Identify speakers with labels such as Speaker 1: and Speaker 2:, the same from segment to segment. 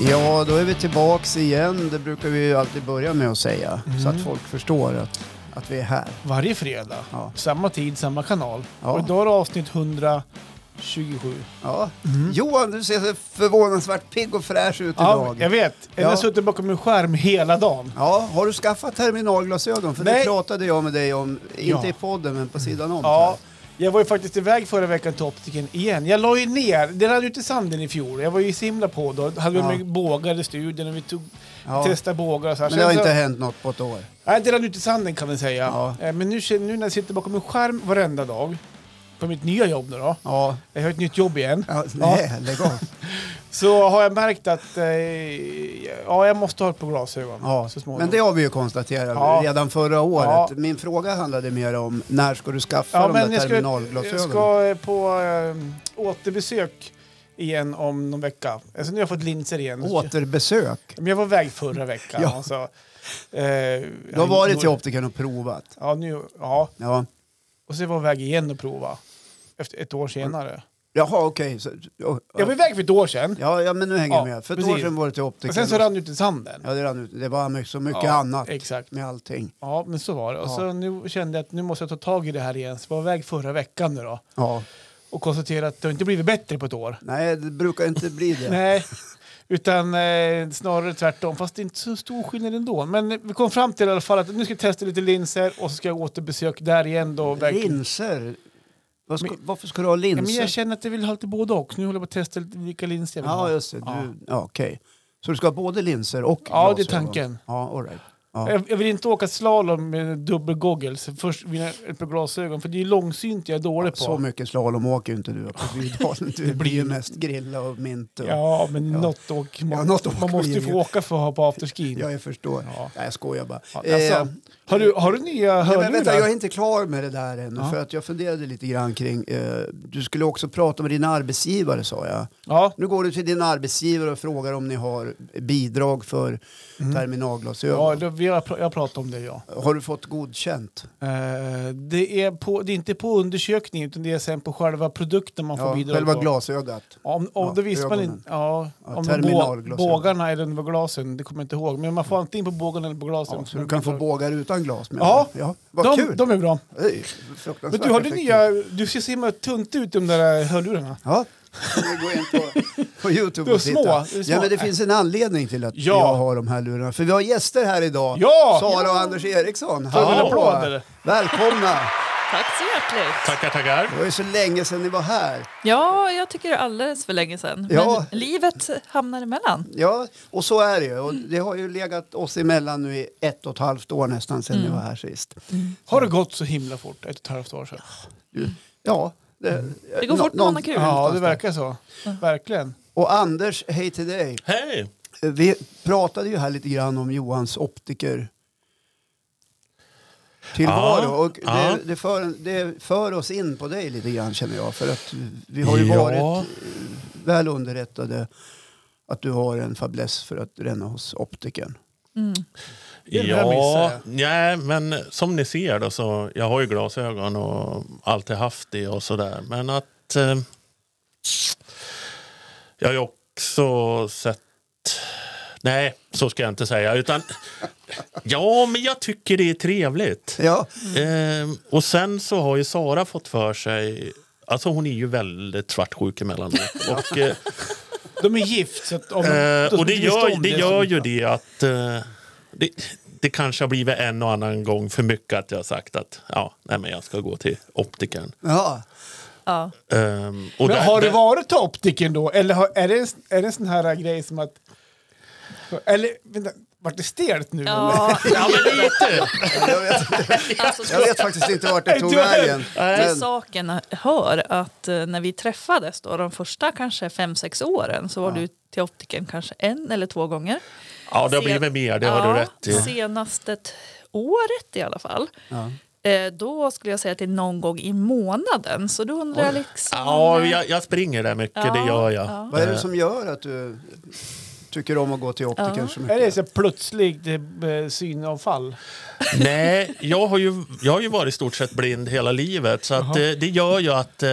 Speaker 1: Ja, då är vi tillbaks igen. Det brukar vi ju alltid börja med att säga. Så
Speaker 2: Mm.
Speaker 1: att folk förstår att, att vi är här.
Speaker 2: Varje fredag.
Speaker 1: Ja.
Speaker 2: Samma tid, samma kanal.
Speaker 1: Ja.
Speaker 2: Och idag är det avsnitt 127.
Speaker 1: Ja. Johan, du ser så förvånansvärt pigg och fräsch ut
Speaker 2: Mm. Ja,
Speaker 1: idag.
Speaker 2: jag vet. Jag
Speaker 1: Ja.
Speaker 2: har suttit bakom en skärm hela dagen.
Speaker 1: Ja, har du skaffat terminalglasögon? För det
Speaker 2: Nej.
Speaker 1: pratade jag med dig om, inte
Speaker 2: Ja. Mm.
Speaker 1: i podden men på sidan om.
Speaker 2: Ja, jag var ju faktiskt iväg förra veckan till optiken igen. Jag la ju ner, den rann ut i sanden i fjol. Jag var ju så himla på då. Då hade
Speaker 1: Ja.
Speaker 2: vi med bågar i studion och vi tog,
Speaker 1: Ja.
Speaker 2: testade bågar och så här.
Speaker 1: Men det har
Speaker 2: Sen
Speaker 1: inte
Speaker 2: så,
Speaker 1: hänt något på ett år.
Speaker 2: Nej, det rann ut i sanden kan vi säga.
Speaker 1: Ja.
Speaker 2: Eh, Men nu, känner- nu när jag sitter bakom en skärm varenda dag, på mitt nya jobb nu då,
Speaker 1: Ja,
Speaker 2: jag har ett nytt jobb igen.
Speaker 1: ja nej, lägg av.
Speaker 2: Så har jag märkt att eh, ja, jag måste ha ett par glasögon
Speaker 1: Ja.
Speaker 2: så småningom.
Speaker 1: Men det har vi ju konstaterat
Speaker 2: Ja.
Speaker 1: redan förra året.
Speaker 2: Ja.
Speaker 1: Min fråga handlade mer om när ska du skaffa
Speaker 2: ja,
Speaker 1: de
Speaker 2: men
Speaker 1: där
Speaker 2: jag ska,
Speaker 1: terminalglasögonen?
Speaker 2: jag ska eh, på eh, återbesök igen om någon vecka. Alltså, nu har jag fått linser igen.
Speaker 1: Återbesök.
Speaker 2: Men jag var iväg förra veckan.
Speaker 1: Ja.
Speaker 2: alltså. eh,
Speaker 1: Du har varit till optikern och provat.
Speaker 2: Ja, nu, ja.
Speaker 1: Ja.
Speaker 2: Och så var jag iväg igen och prova. Efter ett år senare.
Speaker 1: Jaha, okej. Så- ja,
Speaker 2: Jag var iväg för ett år sedan.
Speaker 1: Ja, ja, men nu hänger jag
Speaker 2: Ja,
Speaker 1: med. För ett
Speaker 2: precis.
Speaker 1: år sedan var det till optikern.
Speaker 2: och sen så rann det ut i sanden.
Speaker 1: Ja, det rann ut. Det var mycket- så mycket
Speaker 2: Ja,
Speaker 1: annat
Speaker 2: Exakt.
Speaker 1: med allting.
Speaker 2: Ja, men så var det. Och
Speaker 1: Ja.
Speaker 2: så nu kände jag att nu måste jag ta tag i det här igen. Så jag var iväg förra veckan nu då.
Speaker 1: Ja.
Speaker 2: och konstatera att det har inte blivit bättre på ett år.
Speaker 1: Nej, det brukar inte bli det.
Speaker 2: Nej, utan eh, snarare tvärtom. Fast det är inte så stor skillnad ändå. Men eh, vi kom fram till i alla fall att nu ska jag testa lite linser och så ska jag återbesök där igen. Då, verkligen.
Speaker 1: linser. Vad ska,
Speaker 2: Men-
Speaker 1: varför ska du ha linser?
Speaker 2: Ja, men jag känner att jag vill ha lite både och. Nu håller jag på att testa lite vilka linser jag vill
Speaker 1: ja,
Speaker 2: ha.
Speaker 1: just det. Du, ja.
Speaker 2: Ja.
Speaker 1: okej. Så du ska ha både linser och
Speaker 2: Ja, det är
Speaker 1: glasögon?
Speaker 2: tanken.
Speaker 1: Ja, all right. Ja.
Speaker 2: Jag, jag vill inte åka slalom med dubbel goggles. Först mina ett par glasögon, för det är långsynt jag är dålig på.
Speaker 1: Så mycket slalom åker ju inte du på Bydalen. Du
Speaker 2: Det
Speaker 1: blir
Speaker 2: blir-
Speaker 1: ju mest grilla och mint. Och,
Speaker 2: Ja, men
Speaker 1: Ja.
Speaker 2: något åk. Man,
Speaker 1: Ja, något åk
Speaker 2: man måste ju
Speaker 1: blir
Speaker 2: få
Speaker 1: det.
Speaker 2: åka för att ha på afterskin.
Speaker 1: Ja, jag förstår.
Speaker 2: Ja.
Speaker 1: Nej, jag skojar bara.
Speaker 2: Ja,
Speaker 1: Eh,
Speaker 2: alltså, har, du, har du nya
Speaker 1: Nej, men
Speaker 2: hörlurar?
Speaker 1: vänta, jag är inte klar med det där ännu.
Speaker 2: Ja.
Speaker 1: För att jag funderade lite grann kring... Eh, du skulle också prata med din arbetsgivare sa jag.
Speaker 2: Ja.
Speaker 1: Nu går du till din arbetsgivare och frågar om ni har bidrag för
Speaker 2: Ja,
Speaker 1: terminalglasögon.
Speaker 2: det, vi har, pr- jag pratat om det, Mm. ja.
Speaker 1: Har du fått godkänt?
Speaker 2: Eh, det, är på, det är inte på undersökningen, utan det är sen på själva produkten man får
Speaker 1: Ja,
Speaker 2: bidrag
Speaker 1: själva
Speaker 2: på.
Speaker 1: glasögat.
Speaker 2: Ja, Om, om
Speaker 1: Ja,
Speaker 2: det visste man
Speaker 1: ögonen.
Speaker 2: inte. Ja,
Speaker 1: Ja,
Speaker 2: om det var bå,
Speaker 1: terminalglasögon.
Speaker 2: bågarna eller om det var glasen, det kommer jag inte ihåg. Men man får antingen på bågarna eller på glasen.
Speaker 1: Ja, så du kan få bågar utan glas med.
Speaker 2: Ja,
Speaker 1: ja. Vad
Speaker 2: de,
Speaker 1: kul!
Speaker 2: de är bra.
Speaker 1: Ej,
Speaker 2: Men
Speaker 1: fruktansvärt
Speaker 2: du, har du
Speaker 1: effektivt.
Speaker 2: nya... Du ser så himla tunt ut i de där eh, hörlurarna.
Speaker 1: Ja, vi går in på, på Youtube
Speaker 2: Du är
Speaker 1: och
Speaker 2: små,
Speaker 1: titta.
Speaker 2: du är små.
Speaker 1: Ja, men det
Speaker 2: Nej.
Speaker 1: finns en anledning till att
Speaker 2: Ja.
Speaker 1: jag har de här lurarna. För vi har gäster här idag.
Speaker 2: Ja!
Speaker 1: Sara och
Speaker 2: Ja.
Speaker 1: Anders Eriksson.
Speaker 2: Får jag en applåd, eller?
Speaker 1: Välkomna!
Speaker 3: Tack så hjärtligt.
Speaker 4: Tackar, tackar.
Speaker 1: Det var ju så länge sedan ni var här.
Speaker 3: Ja, jag tycker det är alldeles för länge sedan.
Speaker 1: Ja.
Speaker 3: Men livet hamnar emellan.
Speaker 1: Ja, och så är det ju. Och det har ju legat oss emellan nu i ett och ett halvt år nästan sedan
Speaker 2: Mm.
Speaker 1: ni var här sist.
Speaker 2: Har det gått så himla fort, ett och ett halvt år sedan?
Speaker 1: Ja, det,
Speaker 3: Det går
Speaker 1: nå-
Speaker 3: fort när
Speaker 1: någon-
Speaker 3: man har kul.
Speaker 2: Ja, det verkar så. Verkligen.
Speaker 1: Och Anders, hej till dig.
Speaker 4: Hej!
Speaker 1: Vi pratade ju här lite grann om Johans optiker tillvaro
Speaker 4: Ja,
Speaker 1: och det,
Speaker 4: ja.
Speaker 1: det, för, det för oss in på dig lite grann känner jag för att vi har ju
Speaker 4: Ja.
Speaker 1: varit eh, väl underrättade att du har en fäbless för att ränna hos optikern.
Speaker 2: Den här missade
Speaker 4: Ja, nej, men som ni ser då så jag har ju glasögon och alltid haft det och sådär. Men att eh, jag har ju också sett... Nej, så ska jag inte säga. Utan, ja, men jag tycker det är trevligt.
Speaker 1: Ja,
Speaker 4: Eh, och sen så har ju Sara fått för sig... Alltså hon är ju väldigt svartsjuk emellanåt. Och, eh,
Speaker 2: De är gift, så att om de,
Speaker 4: Eh,
Speaker 2: de
Speaker 4: och
Speaker 2: som
Speaker 4: det
Speaker 2: inte visste
Speaker 4: gör,
Speaker 2: om
Speaker 4: det
Speaker 2: så-
Speaker 4: gör ju det att eh, det, det kanske har blivit en och annan gång för mycket att jag har sagt att ja, nej, men jag ska gå till optikern.
Speaker 1: ja.
Speaker 3: Ja.
Speaker 4: Ehm, och
Speaker 2: Men
Speaker 4: där-
Speaker 2: har du
Speaker 4: där-
Speaker 2: varit till optiken då? Eller har, är, det, en- är det en sån här grej som att... Eller, vänta, vart det stelt nu? eller?
Speaker 3: Ja,
Speaker 4: Ja, men lite.
Speaker 1: Jag, vet,
Speaker 3: alltså,
Speaker 1: jag vet faktiskt inte vart det tog vägen.
Speaker 3: till
Speaker 1: Men,
Speaker 3: saken hör att eh, när vi träffades då, de första kanske fem sex åren så var du till optiken kanske en eller två gånger.
Speaker 4: ja, det
Speaker 3: Sen-
Speaker 4: har blivit mer, det har
Speaker 3: Ja,
Speaker 4: du rätt i.
Speaker 3: Senaste t- året i alla fall.
Speaker 1: ja.
Speaker 3: Eh, Då skulle jag säga att det är någon gång i månaden. Så då undrar jag liksom...
Speaker 4: Ja,
Speaker 3: eh,
Speaker 4: jag, jag springer där mycket,
Speaker 3: Ja,
Speaker 4: det gör jag. Eh,
Speaker 3: ja.
Speaker 1: Vad är det som gör att du tycker om att gå till optikern så
Speaker 2: Är det
Speaker 1: mycket?
Speaker 2: så plötsligt eh, synavfall?
Speaker 4: Nej, jag har, ju, jag har ju varit i stort sett blind hela livet så att, eh, det gör ju att eh,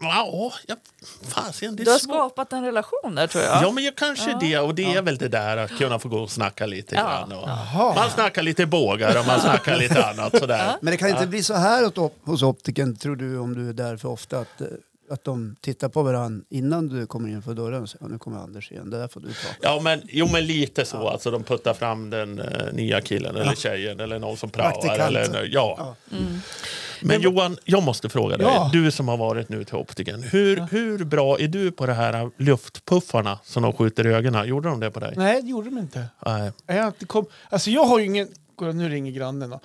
Speaker 4: ja, jag, fasen, det
Speaker 3: Du har
Speaker 4: är svårt.
Speaker 3: skapat en relation där tror jag.
Speaker 4: Ja, men jag kanske det. Och det är väl det där att kunna få gå och snacka lite
Speaker 3: Ja.
Speaker 4: grann. Och man snackar lite bågar och man snackar lite annat sådär.
Speaker 1: Men det kan inte bli så här åt op- hos optiken tror du om du är där för ofta att, eh, att de tittar på varandra innan du kommer in för dörren och säger "Ja, nu kommer Anders igen, det där får du ta.
Speaker 4: Ja, men, jo, men lite så. Alltså, de puttar fram den eh, nya killen eller tjejen eller någon som praoar.
Speaker 1: Praktikanten.
Speaker 4: Eller, ja. Mm. Men Johan, jag måste fråga dig.
Speaker 2: Ja.
Speaker 4: Du som har varit nu till optiken. Hur, hur bra är du på det här luftpuffarna som de skjuter i ögonen? Gjorde de det på dig?
Speaker 2: Nej, det gjorde de inte.
Speaker 4: Nej.
Speaker 2: Jag har inte kom... Alltså jag har ju ingen... Kolla, nu ringer grannen då.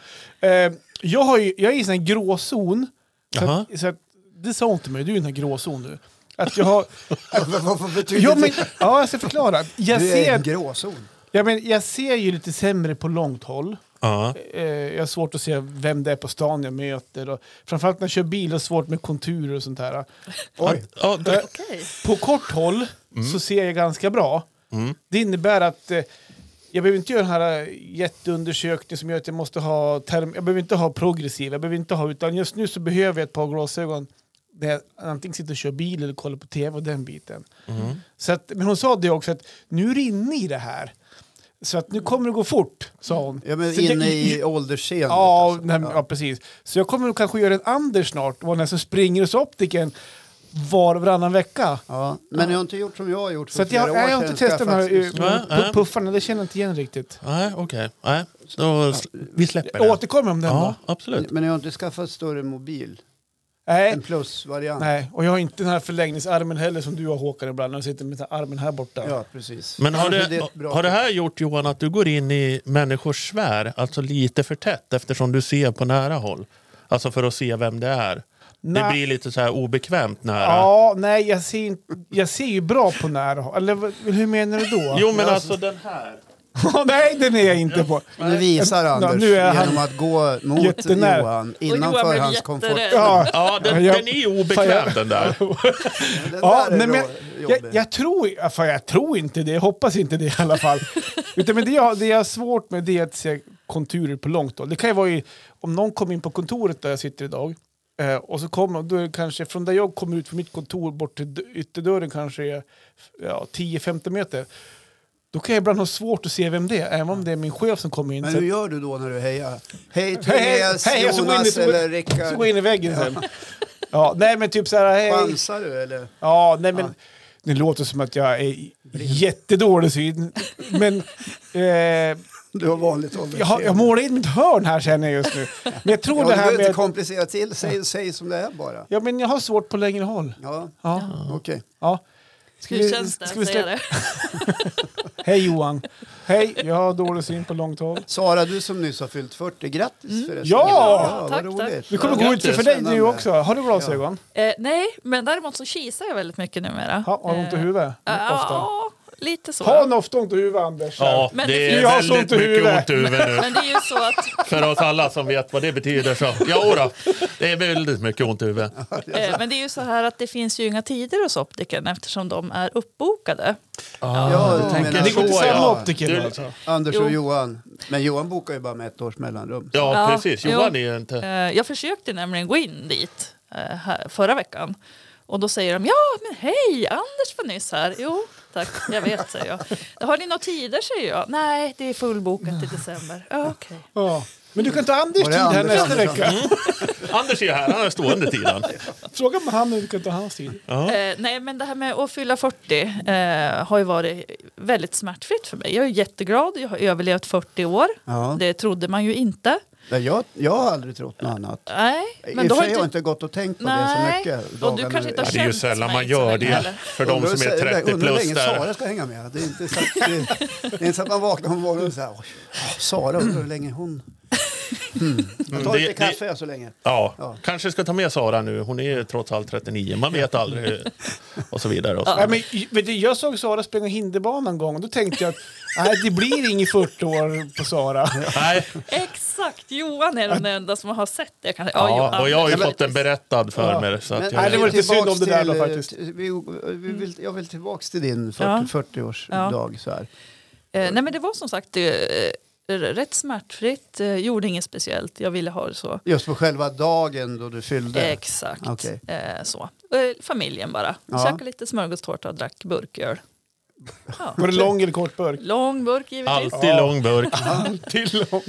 Speaker 2: Eh, jag, har ju, jag är i en sån här gråzon. Så
Speaker 4: Jaha.
Speaker 2: att, så att, det sa hon till mig, du är i en sån här gråzon nu. Att jag har...
Speaker 1: Vad- vad- vad betyder
Speaker 2: ja,
Speaker 1: det?
Speaker 2: men, ja, jag ska förklara. Jag
Speaker 1: Du är en
Speaker 2: ser,
Speaker 1: gråzon.
Speaker 2: ja, men, jag ser ju lite sämre på långt håll.
Speaker 4: Ja.
Speaker 2: Eh, jag har svårt att se vem det är på stan jag möter. Och, framförallt när jag kör bil, jag har svårt med konturer och sånt här. Eh,
Speaker 1: Oj.
Speaker 4: Ja, det,
Speaker 3: Okej.
Speaker 2: På kort håll så ser jag ganska bra.
Speaker 4: Mm,
Speaker 2: Det innebär att eh, jag behöver inte göra den här eh, jätteundersökningen som gör att jag måste ha term- Jag behöver inte ha progressiv, jag behöver inte ha, utan just nu så behöver jag ett par glasögon där jag antingen sitter och kör bil eller kollar på tv och den biten.
Speaker 4: mm.
Speaker 2: Så att, men hon sa det också att nu är du inne i det här. Så att nu kommer det gå fort, sa hon.
Speaker 1: Ja, men
Speaker 2: Så att jag-
Speaker 1: inne i åldersseendet.
Speaker 2: Ja,
Speaker 1: alltså.
Speaker 2: nej, men- ja, precis. Så jag kommer nog kanske göra en Anders snart, var den som springer hos optiken var och varannan vecka.
Speaker 1: Ja, men jag har inte gjort som jag har gjort för
Speaker 2: Så att jag,
Speaker 1: flera år
Speaker 2: nej, jag har
Speaker 1: sedan,
Speaker 2: inte testat de
Speaker 1: skaffat-
Speaker 2: här eh,
Speaker 4: Nej,
Speaker 2: pu-
Speaker 4: nej.
Speaker 2: puffarna, det känner jag inte igen riktigt.
Speaker 4: nej, okej. Nej, då, sl- vi släpper
Speaker 2: Jag
Speaker 4: det.
Speaker 2: återkommer om den då.
Speaker 4: Ja, absolut.
Speaker 1: Men jag har inte skaffat större mobil. En
Speaker 2: Nej,
Speaker 1: plusvariant.
Speaker 2: nej, och jag har inte den här förlängningsarmen heller som du har Håkan ibland, när du sitter med den här armen här borta.
Speaker 1: Ja, precis.
Speaker 4: Men har
Speaker 1: Kanske
Speaker 4: det,
Speaker 1: är ett bra
Speaker 4: har det här gjort Johan att du går in i människors sfär, alltså lite för tätt eftersom du ser på nära håll? Alltså för att se vem det är. Det
Speaker 2: Nej.
Speaker 4: blir lite så här obekvämt nära.
Speaker 2: Ja, nej, jag ser, inte- jag ser ju bra på nära håll. Eller vad- hur menar du då?
Speaker 4: Jo men alltså den här.
Speaker 2: nej, den är jag inte på.
Speaker 1: Nu visar
Speaker 2: Ja,
Speaker 1: Anders
Speaker 2: nu är han-
Speaker 1: genom att gå mot
Speaker 2: Jättenära.
Speaker 1: Johan
Speaker 3: Och Johan
Speaker 1: innanför
Speaker 3: blev
Speaker 1: hans komfort.
Speaker 3: jätterädd.
Speaker 2: Ja,
Speaker 4: Ja den,
Speaker 2: Jag-
Speaker 4: den är ju obekväm den där.
Speaker 1: Den
Speaker 2: Ja,
Speaker 1: där är
Speaker 2: nej, men
Speaker 1: rå-
Speaker 2: jag, jag,
Speaker 1: jobbig.
Speaker 2: jag, tror, ja, fan, jag tror inte det, jag hoppas inte det i alla fall. Utan, men det, jag, det jag har svårt med det är att se konturer på långt håll. Det kan ju vara i, om någon kommer in på kontoret där jag sitter idag eh, och så kommer då är det kanske från där jag kommer ut från mitt kontor bort till d- ytterdörren kanske är, ja, 10-15 meter. Då kan jag ibland ha svårt att se vem det är, även om det är min chef som kommer in.
Speaker 1: Men
Speaker 2: Så-
Speaker 1: hur gör du då när du hejar? Hej
Speaker 2: Hej, hej,
Speaker 1: Therese,
Speaker 2: hej, jag ska gå in i-
Speaker 1: Jonas eller
Speaker 2: så går
Speaker 1: Rickard.
Speaker 2: jag in i väggen sen. Ja, nej men typ så här, hej.
Speaker 1: Chansar du eller?
Speaker 2: Ja, nej men det låter som att jag är jättedålig syn. Men eh,
Speaker 1: Du har vanligt ålderssken.
Speaker 2: jag, har- jag målar in mitt hörn här känner jag just nu. Men jag tror
Speaker 1: Ja,
Speaker 2: det
Speaker 1: du
Speaker 2: här
Speaker 1: behöver inte
Speaker 2: med...
Speaker 1: komplicera till, säg, säg som det är bara.
Speaker 2: Ja, men jag har svårt på längre håll.
Speaker 1: Ja,
Speaker 2: Ja,
Speaker 1: okej.
Speaker 2: ja. Ska
Speaker 3: Hur känns det
Speaker 2: ska
Speaker 3: att
Speaker 2: slä-
Speaker 3: säga det?
Speaker 2: Hej Johan. Hej, jag har dålig syn på långt håll.
Speaker 1: Sara, du som nyss har fyllt 40, grattis förresten.
Speaker 2: Mm. Ja!
Speaker 1: vad
Speaker 3: Tack, tack.
Speaker 1: roligt.
Speaker 2: Det kommer gå ut för dig nu
Speaker 1: Spännande.
Speaker 2: också. Har du glasögon?
Speaker 3: Eh, nej, men däremot så kisar jag väldigt mycket numera.
Speaker 2: Ja, har du ont i
Speaker 3: Eh,
Speaker 2: huvudet? Ofta.
Speaker 3: Ja, lite så.
Speaker 2: Har han ofta ont i huvudet Anders?
Speaker 4: Ja,
Speaker 3: Men det
Speaker 4: det är
Speaker 3: finns- Jag
Speaker 2: har så
Speaker 4: väldigt
Speaker 2: ont i
Speaker 4: mycket
Speaker 2: huvudet.
Speaker 4: ont i huvudet nu.
Speaker 3: Men det är ju så att
Speaker 4: För oss alla som vet vad det betyder så. Ja, då, det är väldigt mycket ont i huvudet.
Speaker 3: Eh, Men det är ju så här att det finns ju inga tider hos optiken eftersom de är uppbokade.
Speaker 1: Ja, du tänker
Speaker 2: Det går inte
Speaker 1: så,
Speaker 2: alltså, samma
Speaker 1: ja.
Speaker 2: optiker
Speaker 4: Du-
Speaker 2: då, alltså.
Speaker 1: Anders och
Speaker 3: Jo.
Speaker 1: Johan. Men Johan bokar ju bara med ett års mellanrum.
Speaker 4: Ja,
Speaker 3: Ja,
Speaker 4: precis.
Speaker 3: jo.
Speaker 4: Johan är ju inte...
Speaker 3: Eh, Jag försökte nämligen gå in dit eh, här, förra veckan och då säger de ja, men hej, Anders var nyss här. Jo, tack, jag vet, säger jag. Har ni några tider, säger jag. Nej, det är fullbokat i december. Ja, okej.
Speaker 2: Ja. Men du kan ta Anders
Speaker 1: Var
Speaker 2: tid
Speaker 1: det
Speaker 2: här
Speaker 1: Anders
Speaker 2: nästa
Speaker 1: Andersson? Mm.
Speaker 2: vecka.
Speaker 4: Anders är ju här, han är stående till han.
Speaker 2: Fråga om han inte kan ta hans tid.
Speaker 4: Ja.
Speaker 3: Eh, nej, men det här med att fylla 40 eh, har ju varit väldigt smärtfritt för mig. Jag är jätteglad, jag har överlevt 40 år.
Speaker 1: Ja.
Speaker 3: Det trodde man ju inte.
Speaker 1: Ja, Jag, jag har aldrig trott något annat.
Speaker 3: Nej,
Speaker 1: Men I
Speaker 3: men
Speaker 1: och
Speaker 3: då
Speaker 1: för
Speaker 3: har
Speaker 1: sig
Speaker 3: inte...
Speaker 1: har jag inte gått och tänkt på det så mycket.
Speaker 3: Och du
Speaker 1: dagarna
Speaker 3: kanske inte
Speaker 1: nu.
Speaker 3: har
Speaker 4: Det är ju
Speaker 3: känts
Speaker 4: sällan
Speaker 3: mig
Speaker 4: man
Speaker 3: inte så
Speaker 4: gör
Speaker 3: länge
Speaker 4: det
Speaker 3: heller.
Speaker 4: för de
Speaker 1: Undrar
Speaker 4: som är
Speaker 1: hur- undrar
Speaker 4: 30
Speaker 1: hur
Speaker 4: plus
Speaker 1: länge
Speaker 4: där.
Speaker 1: Sara ska hänga med. Det är inte så att, det, det är inte så att man vaknar på morgonen och säger "Oj, Sara, undrar hur länge hon... Hmm. Jag tar
Speaker 4: Mm, det-
Speaker 1: lite
Speaker 4: det-
Speaker 1: kaffe jag så länge.
Speaker 4: Ja, kanske ska ta med Sara nu. Hon är ju trots allt 39. Man vet aldrig. Och så vidare. Och så.
Speaker 2: Nej, men, vet du, jag såg Sara springa hinderbana en gång och då tänkte jag att nej, det blir inget 40 år på Sara.
Speaker 4: Nej,
Speaker 3: Exakt, Johan är den enda som har sett det. Kanske. Ja,
Speaker 4: ja,
Speaker 3: Johan.
Speaker 4: och jag har ju
Speaker 1: Ja, men-
Speaker 4: fått den berättad för mig. Så att
Speaker 2: Nej, det var
Speaker 4: jag,
Speaker 2: lite synd om det där då,
Speaker 1: tillbaks
Speaker 2: faktiskt. Mm.
Speaker 1: till- Vi, vi vill, jag vill tillbaka till din
Speaker 3: Ja.
Speaker 1: 40, 40-årsdag. Så här.
Speaker 3: Eh, nej, men det var som sagt eh, r- rätt smärtfritt, eh, gjorde inget speciellt, jag ville ha det så.
Speaker 1: Just på själva dagen då du fyllde?
Speaker 3: Exakt.
Speaker 1: Okej.
Speaker 3: Eh, så. Eh, familjen bara.
Speaker 1: Ja.
Speaker 3: Käkade lite smörgåstårta och drack burköl. Ja.
Speaker 2: Var det lång eller kort burk?
Speaker 3: Lång burk givetvis.
Speaker 4: Alltid lång burk.
Speaker 2: Till lång.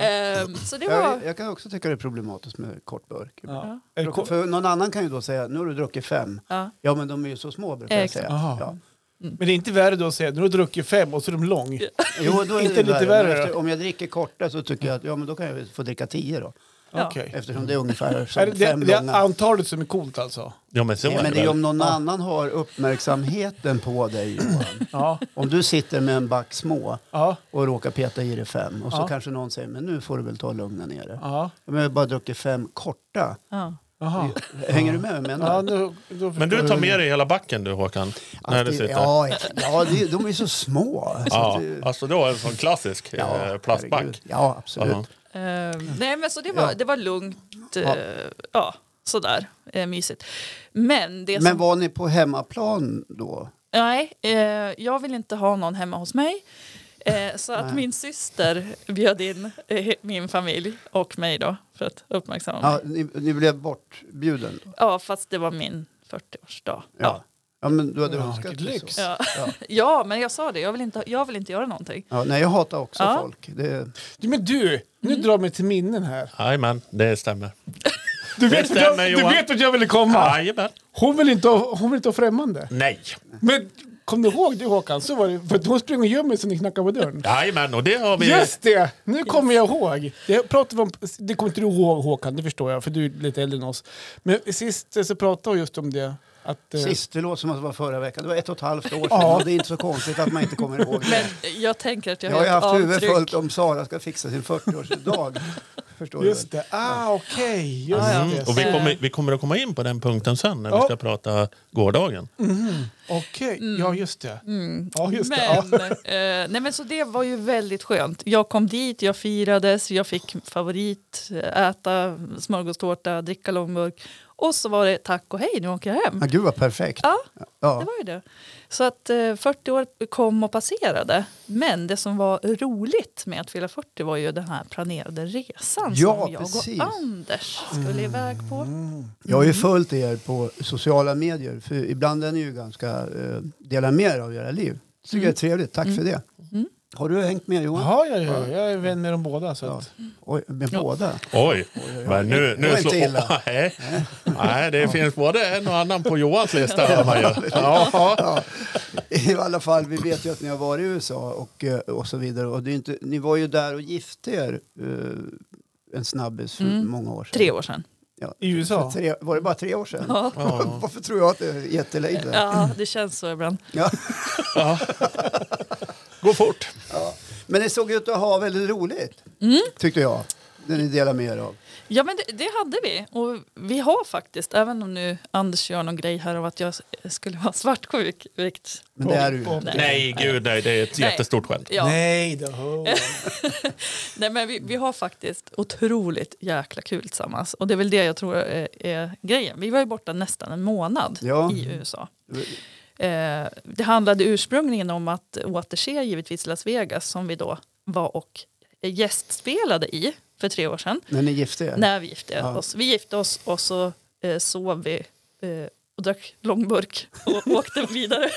Speaker 3: Ehm, så det
Speaker 1: Jag,
Speaker 3: var...
Speaker 1: jag kan också tycka det är problematiskt med kort burk.
Speaker 2: Ja. Eh,
Speaker 1: För-
Speaker 2: Är det kort?
Speaker 1: För någon annan kan ju då säga, nu har du druckit fem.
Speaker 3: Ja.
Speaker 1: Ja men de är ju så små brukar jag
Speaker 3: Exakt.
Speaker 1: säga.
Speaker 2: Aha.
Speaker 1: Ja.
Speaker 2: Men det är inte värre då att säga nu har du druckit fem och så är de lång.
Speaker 1: Jo, då är
Speaker 2: Inte
Speaker 1: det
Speaker 2: lite
Speaker 1: värre.
Speaker 2: värre
Speaker 1: Men
Speaker 2: då?
Speaker 1: efter, om jag dricker korta så tycker jag att ja, men då kan jag väl få dricka tio då.
Speaker 3: Ja.
Speaker 2: Okej.
Speaker 1: Eftersom det är ungefär som
Speaker 2: Är det, det,
Speaker 1: fem
Speaker 2: det är
Speaker 1: långa.
Speaker 2: antalet som är coolt alltså?
Speaker 4: Ja, men så
Speaker 1: Nej, men det är ju
Speaker 4: väl.
Speaker 1: om någon annan har uppmärksamheten på dig Johan.
Speaker 2: Ja.
Speaker 1: Om du sitter med en back små
Speaker 2: Ja.
Speaker 1: och råkar peta i dig fem och så
Speaker 2: Ja.
Speaker 1: kanske någon säger men nu får du väl ta och lugna ner dig.
Speaker 2: Ja.
Speaker 1: Men jag har bara druckit fem korta.
Speaker 3: Ja.
Speaker 2: Jaha.
Speaker 1: Hänger du med vad jag menar?
Speaker 2: Ja, nu, då
Speaker 4: Men
Speaker 2: förstår
Speaker 4: du tar
Speaker 2: jag.
Speaker 4: med dig hela backen du Håkan?
Speaker 1: Att
Speaker 4: När du
Speaker 1: det-
Speaker 4: sitter?
Speaker 1: ja,
Speaker 4: Ja.
Speaker 1: ex- ja det, de är ju så små. Så
Speaker 4: ja.
Speaker 1: att det-
Speaker 4: Alltså då är det en sån klassisk eh,
Speaker 1: ja, herregud.
Speaker 4: plastback.
Speaker 1: Ja, absolut.
Speaker 4: Ja.
Speaker 3: Ehm, nej men så det var,
Speaker 1: Ja.
Speaker 3: det var lugnt. eh,
Speaker 1: Ja.
Speaker 3: ja, sådär. Eh, mysigt. Men det
Speaker 1: Men
Speaker 3: som...
Speaker 1: var ni på hemmaplan då?
Speaker 3: Nej, eh, jag vill inte ha någon hemma hos mig. Eh, så att
Speaker 1: Nej.
Speaker 3: min syster bjöd in eh, min familj och mig då för att uppmärksamma mig.
Speaker 1: Ja, ni, ni blev bortbjuden? Då.
Speaker 3: Ja, fast det var min 40-årsdag.
Speaker 1: Ja. ja, men du hade
Speaker 2: Ja,
Speaker 1: önskat
Speaker 2: vilket
Speaker 1: det
Speaker 2: lyx.
Speaker 1: så.
Speaker 3: Ja.
Speaker 1: Ja.
Speaker 3: Ja, men jag sa det. Jag vill inte, jag vill inte göra någonting.
Speaker 1: Ja, nej, jag hatar också
Speaker 3: Ja.
Speaker 1: folk. Det,
Speaker 2: Du, Men du, nu drar mig till minnen här.
Speaker 4: Jajamän, det stämmer.
Speaker 2: Du vet, vart
Speaker 4: stämmer,
Speaker 2: jag, du
Speaker 4: Johan.
Speaker 2: vet vart jag ville komma.
Speaker 4: Jajamän.
Speaker 2: Hon vill inte ha, hon vill inte ha främmande.
Speaker 4: Nej.
Speaker 2: Men kom du ihåg det Håkan? Så var det, för att hon sprang och gömde sig när ni knackade på dörren.
Speaker 4: Jajamän, och det har vi...
Speaker 2: Just det! Nu kommer jag ihåg. Det, pratade vi om, det kommer inte du ihåg Håkan, det förstår jag, för du är lite äldre än oss. Men sist eh, så pratade vi just om det. Att, eh,
Speaker 1: sist, det låter som att det var förra veckan. Det var ett och ett halvt år sedan.
Speaker 2: Ja.
Speaker 1: Och det är inte så konstigt att man inte kommer ihåg det.
Speaker 3: Men jag tänker att jag,
Speaker 1: jag har ju haft
Speaker 3: ett
Speaker 1: huvudet
Speaker 3: avtryck.
Speaker 1: fullt om Sara ska fixa sin 40-årsdag. Förstår du?
Speaker 2: Just det. Ah, okej. Just
Speaker 3: Ja, ja.
Speaker 2: det.
Speaker 4: Mm, och vi kommer, vi kommer att komma in på den punkten sen när vi
Speaker 2: Ja.
Speaker 4: ska prata gårdagen.
Speaker 2: Okej, ja just det. Ja, just det. Ja.
Speaker 3: Men, eh, nej men så det var ju väldigt skönt. Jag kom dit, jag firades, jag fick favorit, eh, äta smörgåstårta, dricka långburk. Och så var det tack och hej, nu åker jag hem.
Speaker 1: Ja, gud vad perfekt.
Speaker 3: Ja, det
Speaker 1: Ja.
Speaker 3: var ju det. Så att eh, 40 år kom och passerade. Men det som var roligt med att fylla 40 var ju den här planerade resan
Speaker 1: Ja,
Speaker 3: som jag
Speaker 1: precis.
Speaker 3: och Anders skulle iväg
Speaker 2: Mm.
Speaker 3: på.
Speaker 1: Jag har ju följt er på sociala medier. För ibland är ni ju ganska... Eh, dela med er av era liv. Det tycker jag är trevligt.
Speaker 3: Mm.
Speaker 1: Tack för det. Har du hängt med Johan?
Speaker 2: Jaha, ja, ja, jag är vän med dem båda. Så att,
Speaker 1: Oj, med
Speaker 3: Ja.
Speaker 1: båda?
Speaker 4: Oj, men nu,
Speaker 1: Det
Speaker 4: nu
Speaker 1: var inte
Speaker 4: slår...
Speaker 1: illa.
Speaker 4: Nej. Nej, det finns både en och annan på Johans lista. hör man ju. Ja.
Speaker 1: Ja, I alla fall, vi vet ju att ni har varit i USA och, eh, och så vidare. Och det är inte, ni var ju där och gifte er eh, en snabbis för
Speaker 3: Mm.
Speaker 1: många år sedan.
Speaker 3: Tre år sedan.
Speaker 1: Ja.
Speaker 2: I USA?
Speaker 1: För Tre, var det bara tre år sedan?
Speaker 3: Ja.
Speaker 1: Varför tror jag att det är jättelänge sedan?
Speaker 3: Ja, det känns så ibland.
Speaker 1: Ja.
Speaker 4: Gå fort.
Speaker 1: Men det såg ut att ha väldigt roligt,
Speaker 3: Mm.
Speaker 1: tyckte jag. Det ni delar med er av.
Speaker 3: Ja, men det, det hade vi. Och vi har faktiskt, även om nu Anders gör någon grej här av att jag s- skulle vara svartsjuk. vilket-
Speaker 1: Men det är du ju.
Speaker 3: Nej.
Speaker 4: Nej, gud nej, det är ett
Speaker 3: Nej.
Speaker 4: jättestort skämt.
Speaker 3: Ja. Nej.
Speaker 2: Nej då.
Speaker 3: men vi, vi har faktiskt otroligt jäkla kul tillsammans. Och det är väl det jag tror är, är grejen. Vi var ju borta nästan en månad
Speaker 1: Ja.
Speaker 3: i USA. Eh, det handlade ursprungligen om att återse givetvis Las Vegas som vi då var och gästspelade i för tre år sedan.
Speaker 1: När ni gifte er?
Speaker 3: När vi gifte
Speaker 1: Ja.
Speaker 3: oss. Vi gifte oss och så eh, sov vi eh, och drack långburk och åkte vidare.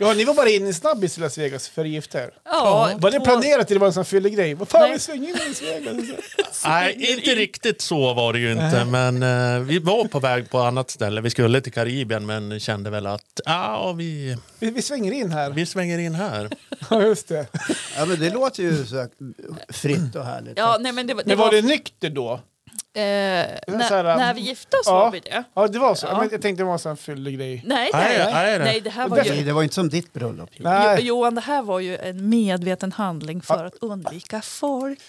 Speaker 2: Ja, ni var bara inne i snabbis i Las Vegas för att gifta er.
Speaker 3: Ja,
Speaker 2: Var det
Speaker 3: två-
Speaker 2: planerat eller var det en sån här fyllig grej? Vad fan,
Speaker 3: Nej.
Speaker 2: vi svänger in i Las Vegas.
Speaker 4: Nej, inte riktigt så var det ju inte. Men eh, vi var på väg på annat ställe. Vi skulle till Karibien men kände väl att ja, vi,
Speaker 2: Vi, vi svänger in här.
Speaker 4: vi svänger in här.
Speaker 2: Ja, just det.
Speaker 1: Ja, men det låter ju så här fritt och härligt.
Speaker 3: Ja, nej, men det, var- det
Speaker 2: Men var
Speaker 3: var,
Speaker 2: det nykter då?
Speaker 3: eh,
Speaker 2: var
Speaker 3: när,
Speaker 2: så här,
Speaker 3: när vi gifte oss
Speaker 2: ja.
Speaker 3: var vi det.
Speaker 2: Ja, Mm. det var så.
Speaker 3: Ja.
Speaker 2: Men jag tänkte det var en sån här fyllig grej.
Speaker 3: Nej, det,
Speaker 4: Nej, nej, nej.
Speaker 3: nej, det här var
Speaker 1: Nej,
Speaker 3: ju...
Speaker 1: det var inte som ditt bröllop. ju.
Speaker 3: Jo,
Speaker 2: Nej.
Speaker 3: Johan, det här var ju en medveten handling för att undvika folk.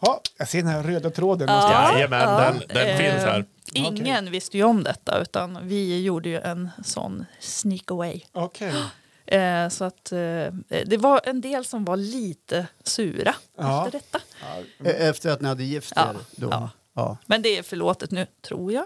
Speaker 2: Ja, jag ser den här röda tråden.
Speaker 3: Ja,
Speaker 2: någonstans.
Speaker 4: Jajamän, den- den finns här.
Speaker 3: Ingen visste ju om detta, utan vi gjorde ju en sån sneak away.
Speaker 2: Okej.
Speaker 3: Eh, så att, eh, det var en del som var lite sura
Speaker 2: Ja.
Speaker 3: efter detta.
Speaker 1: E- Efter att ni hade gift
Speaker 3: Mm. Ja,
Speaker 1: er då?
Speaker 3: ja.
Speaker 1: Ja.
Speaker 3: Men det är förlåtet nu, tror jag.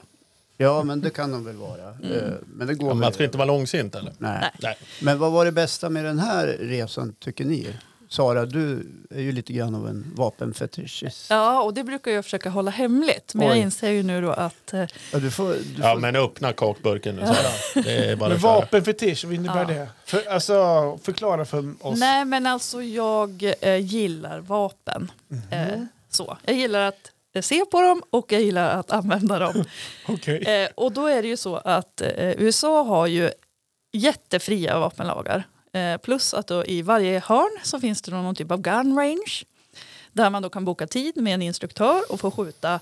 Speaker 1: Ja, men det kan de väl vara.
Speaker 3: Mm.
Speaker 1: Eh, Men det går
Speaker 4: Ja,
Speaker 1: väl
Speaker 4: Man ska
Speaker 1: över.
Speaker 4: inte vara långsint eller?
Speaker 1: Nej.
Speaker 4: Nej.
Speaker 1: Men vad var det bästa med den här resan tycker ni? Sara, du är ju lite grann av en vapenfetischist.
Speaker 3: Ja, och det brukar jag försöka hålla hemligt. Men jag
Speaker 1: Oj.
Speaker 3: inser ju nu då att eh,
Speaker 1: Ja, du får, du får,
Speaker 4: Ja, men öppna kakburken nu. Sara. Det är bara
Speaker 2: Men
Speaker 4: att köra.
Speaker 2: vapenfetisch, vad innebär
Speaker 3: Ja.
Speaker 2: det? För, alltså, förklara för oss.
Speaker 3: Nej, men alltså jag eh, gillar vapen. Eh, så. Jag gillar att eh, se på dem och jag gillar att använda dem.
Speaker 2: Okej.
Speaker 3: eh, och då är det ju så att eh, USA har ju jättefria vapenlagar. Eh, plus att då i varje hörn så finns det då någon typ av gun range där man då kan boka tid med en instruktör och få skjuta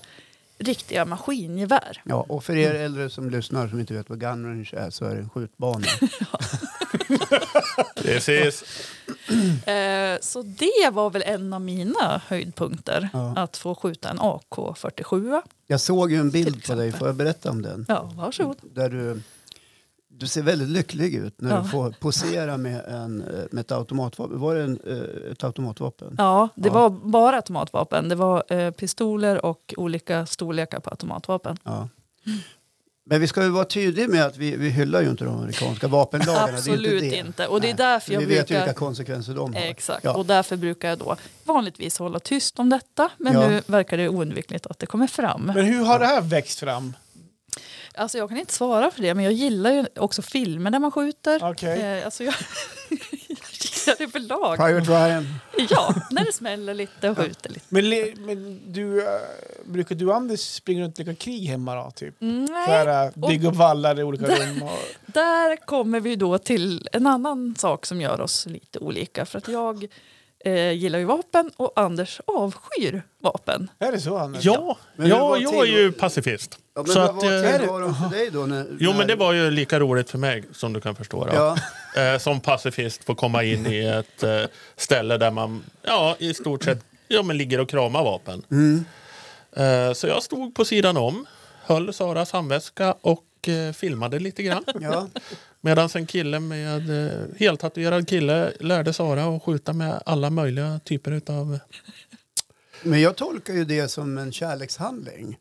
Speaker 3: riktiga maskingevär.
Speaker 1: ja, och för er äldre som lyssnar som inte vet vad gun range är så är det en skjutbana.
Speaker 4: Precis.
Speaker 3: Eh, så det var väl en av mina höjdpunkter,
Speaker 1: Ja.
Speaker 3: att få skjuta en AK47.
Speaker 1: Jag såg ju en bild på
Speaker 3: Till
Speaker 1: dig,
Speaker 3: exempel.
Speaker 1: får jag berätta om den?
Speaker 3: Ja, varsågod.
Speaker 1: Där du, du ser väldigt lycklig ut när
Speaker 3: Ja.
Speaker 1: du får posera med, en, eh, med ett automatvapen. Var det en, eh, ett automatvapen?
Speaker 3: Ja, det
Speaker 1: Ja.
Speaker 3: var bara automatvapen. Det var eh, pistoler och olika storlekar på automatvapen.
Speaker 1: Ja. Men vi ska ju vara tydliga med att vi, vi hyllar ju inte de amerikanska vapenlagarna. det är
Speaker 3: Absolut
Speaker 1: inte.
Speaker 3: inte,
Speaker 1: Det.
Speaker 3: Och det är
Speaker 1: Nej,
Speaker 3: därför
Speaker 1: För vi
Speaker 3: jag
Speaker 1: vet ju vilka
Speaker 3: brukar...
Speaker 1: konsekvenser de har.
Speaker 3: Exakt,
Speaker 1: Ja.
Speaker 3: och därför brukar jag då vanligtvis hålla tyst om detta. Men
Speaker 1: Ja.
Speaker 3: nu verkar det oundvikligt att det kommer fram.
Speaker 2: Men hur har det här växt fram?
Speaker 3: Alltså jag kan inte svara för det, men jag gillar ju också filmer där man skjuter.
Speaker 2: Okej.
Speaker 3: Eh, alltså jag... jag gillar det för lag.
Speaker 1: Private Ryan.
Speaker 3: Ja, när det smäller lite och skjuter lite.
Speaker 2: Men, le- men du, eh, brukar du och Anders springa runt och leka krig hemma då? Typ? Så
Speaker 3: Nej,
Speaker 2: här, eh, bygga upp vallar i olika rum? Och,
Speaker 3: Där kommer vi då till en annan sak som gör oss lite olika. För att jag eh, gillar ju vapen och Anders avskyr vapen.
Speaker 2: är det så Anders?
Speaker 4: Ja,
Speaker 1: Men hur var
Speaker 4: ja jag är
Speaker 1: till-
Speaker 4: ju pacifist.
Speaker 1: Ja, men
Speaker 4: Så
Speaker 1: vad
Speaker 4: att,
Speaker 1: vad
Speaker 4: eh,
Speaker 1: tid var de för dig då? När,
Speaker 4: Jo,
Speaker 1: när,
Speaker 4: men det var ju lika roligt för mig som du kan förstå. Då.
Speaker 1: Ja,
Speaker 4: Eh, som pacifist får komma in i ett eh, ställe där man ja, i stort sett ja, men ligger och kramar vapen.
Speaker 1: Mm.
Speaker 4: Eh, så jag stod på sidan om, höll Saras handväska och eh, filmade lite grann.
Speaker 1: ja.
Speaker 4: Medan en kille med eh, heltatuerad kille lärde Sara att skjuta med alla möjliga typer utav...
Speaker 1: Men jag tolkar ju det som en kärlekshandling.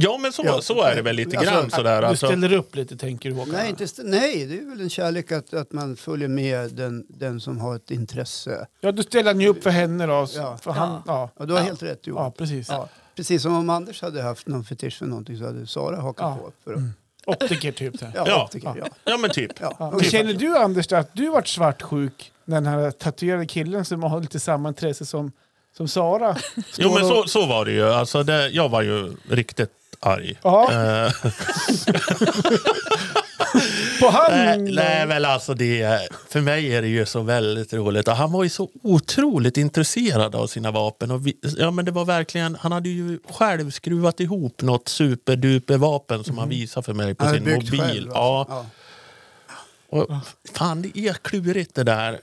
Speaker 4: Ja, men så,
Speaker 1: Ja.
Speaker 4: så är det väl lite
Speaker 1: Alltså,
Speaker 4: grann. Sådär,
Speaker 2: Du
Speaker 4: alltså.
Speaker 2: ställer upp lite tänker du Håkan?
Speaker 1: Nej, inte, st- nej, det är väl en kärlek att, att man följer med den, den som har ett intresse.
Speaker 2: Ja, du ställer han ju upp för henne då. så-
Speaker 1: Ja.
Speaker 2: För han, ja.
Speaker 1: Ja, du har helt rätt
Speaker 2: Ja,
Speaker 1: Johan.
Speaker 2: precis.
Speaker 1: Ja. Precis som om Anders hade haft någon fetisch för någonting så hade Sara hakat
Speaker 2: Ja.
Speaker 1: på. För att,
Speaker 2: Optiker typ. så här.
Speaker 1: ja,
Speaker 4: Ja.
Speaker 1: jag tycker, Mm. ja.
Speaker 4: Ja, men typ.
Speaker 1: Ja.
Speaker 2: Ja.
Speaker 1: Ja.
Speaker 2: Och känner du Anders att du varit svartsjuk när den här tatuerade killen som har lite samma intresse som, som Sara? står
Speaker 4: Jo, men
Speaker 2: och-
Speaker 4: så, så var det ju. Alltså, det, jag var ju riktigt arg.
Speaker 2: Ja,
Speaker 4: Eh,
Speaker 2: på han!
Speaker 1: Mm.
Speaker 4: Nej, nej väl alltså det, för mig är det ju så väldigt roligt. Och han var ju så otroligt intresserad av sina vapen. Och vi, ja, men det var verkligen, han hade ju själv skruvat ihop något superduper vapen som han visade för mig på
Speaker 1: Mm. Han har
Speaker 4: sin
Speaker 1: byggt
Speaker 4: mobil.
Speaker 1: själv,
Speaker 4: ja.
Speaker 1: alltså. ja.
Speaker 4: Och, fan det är klurigt det där.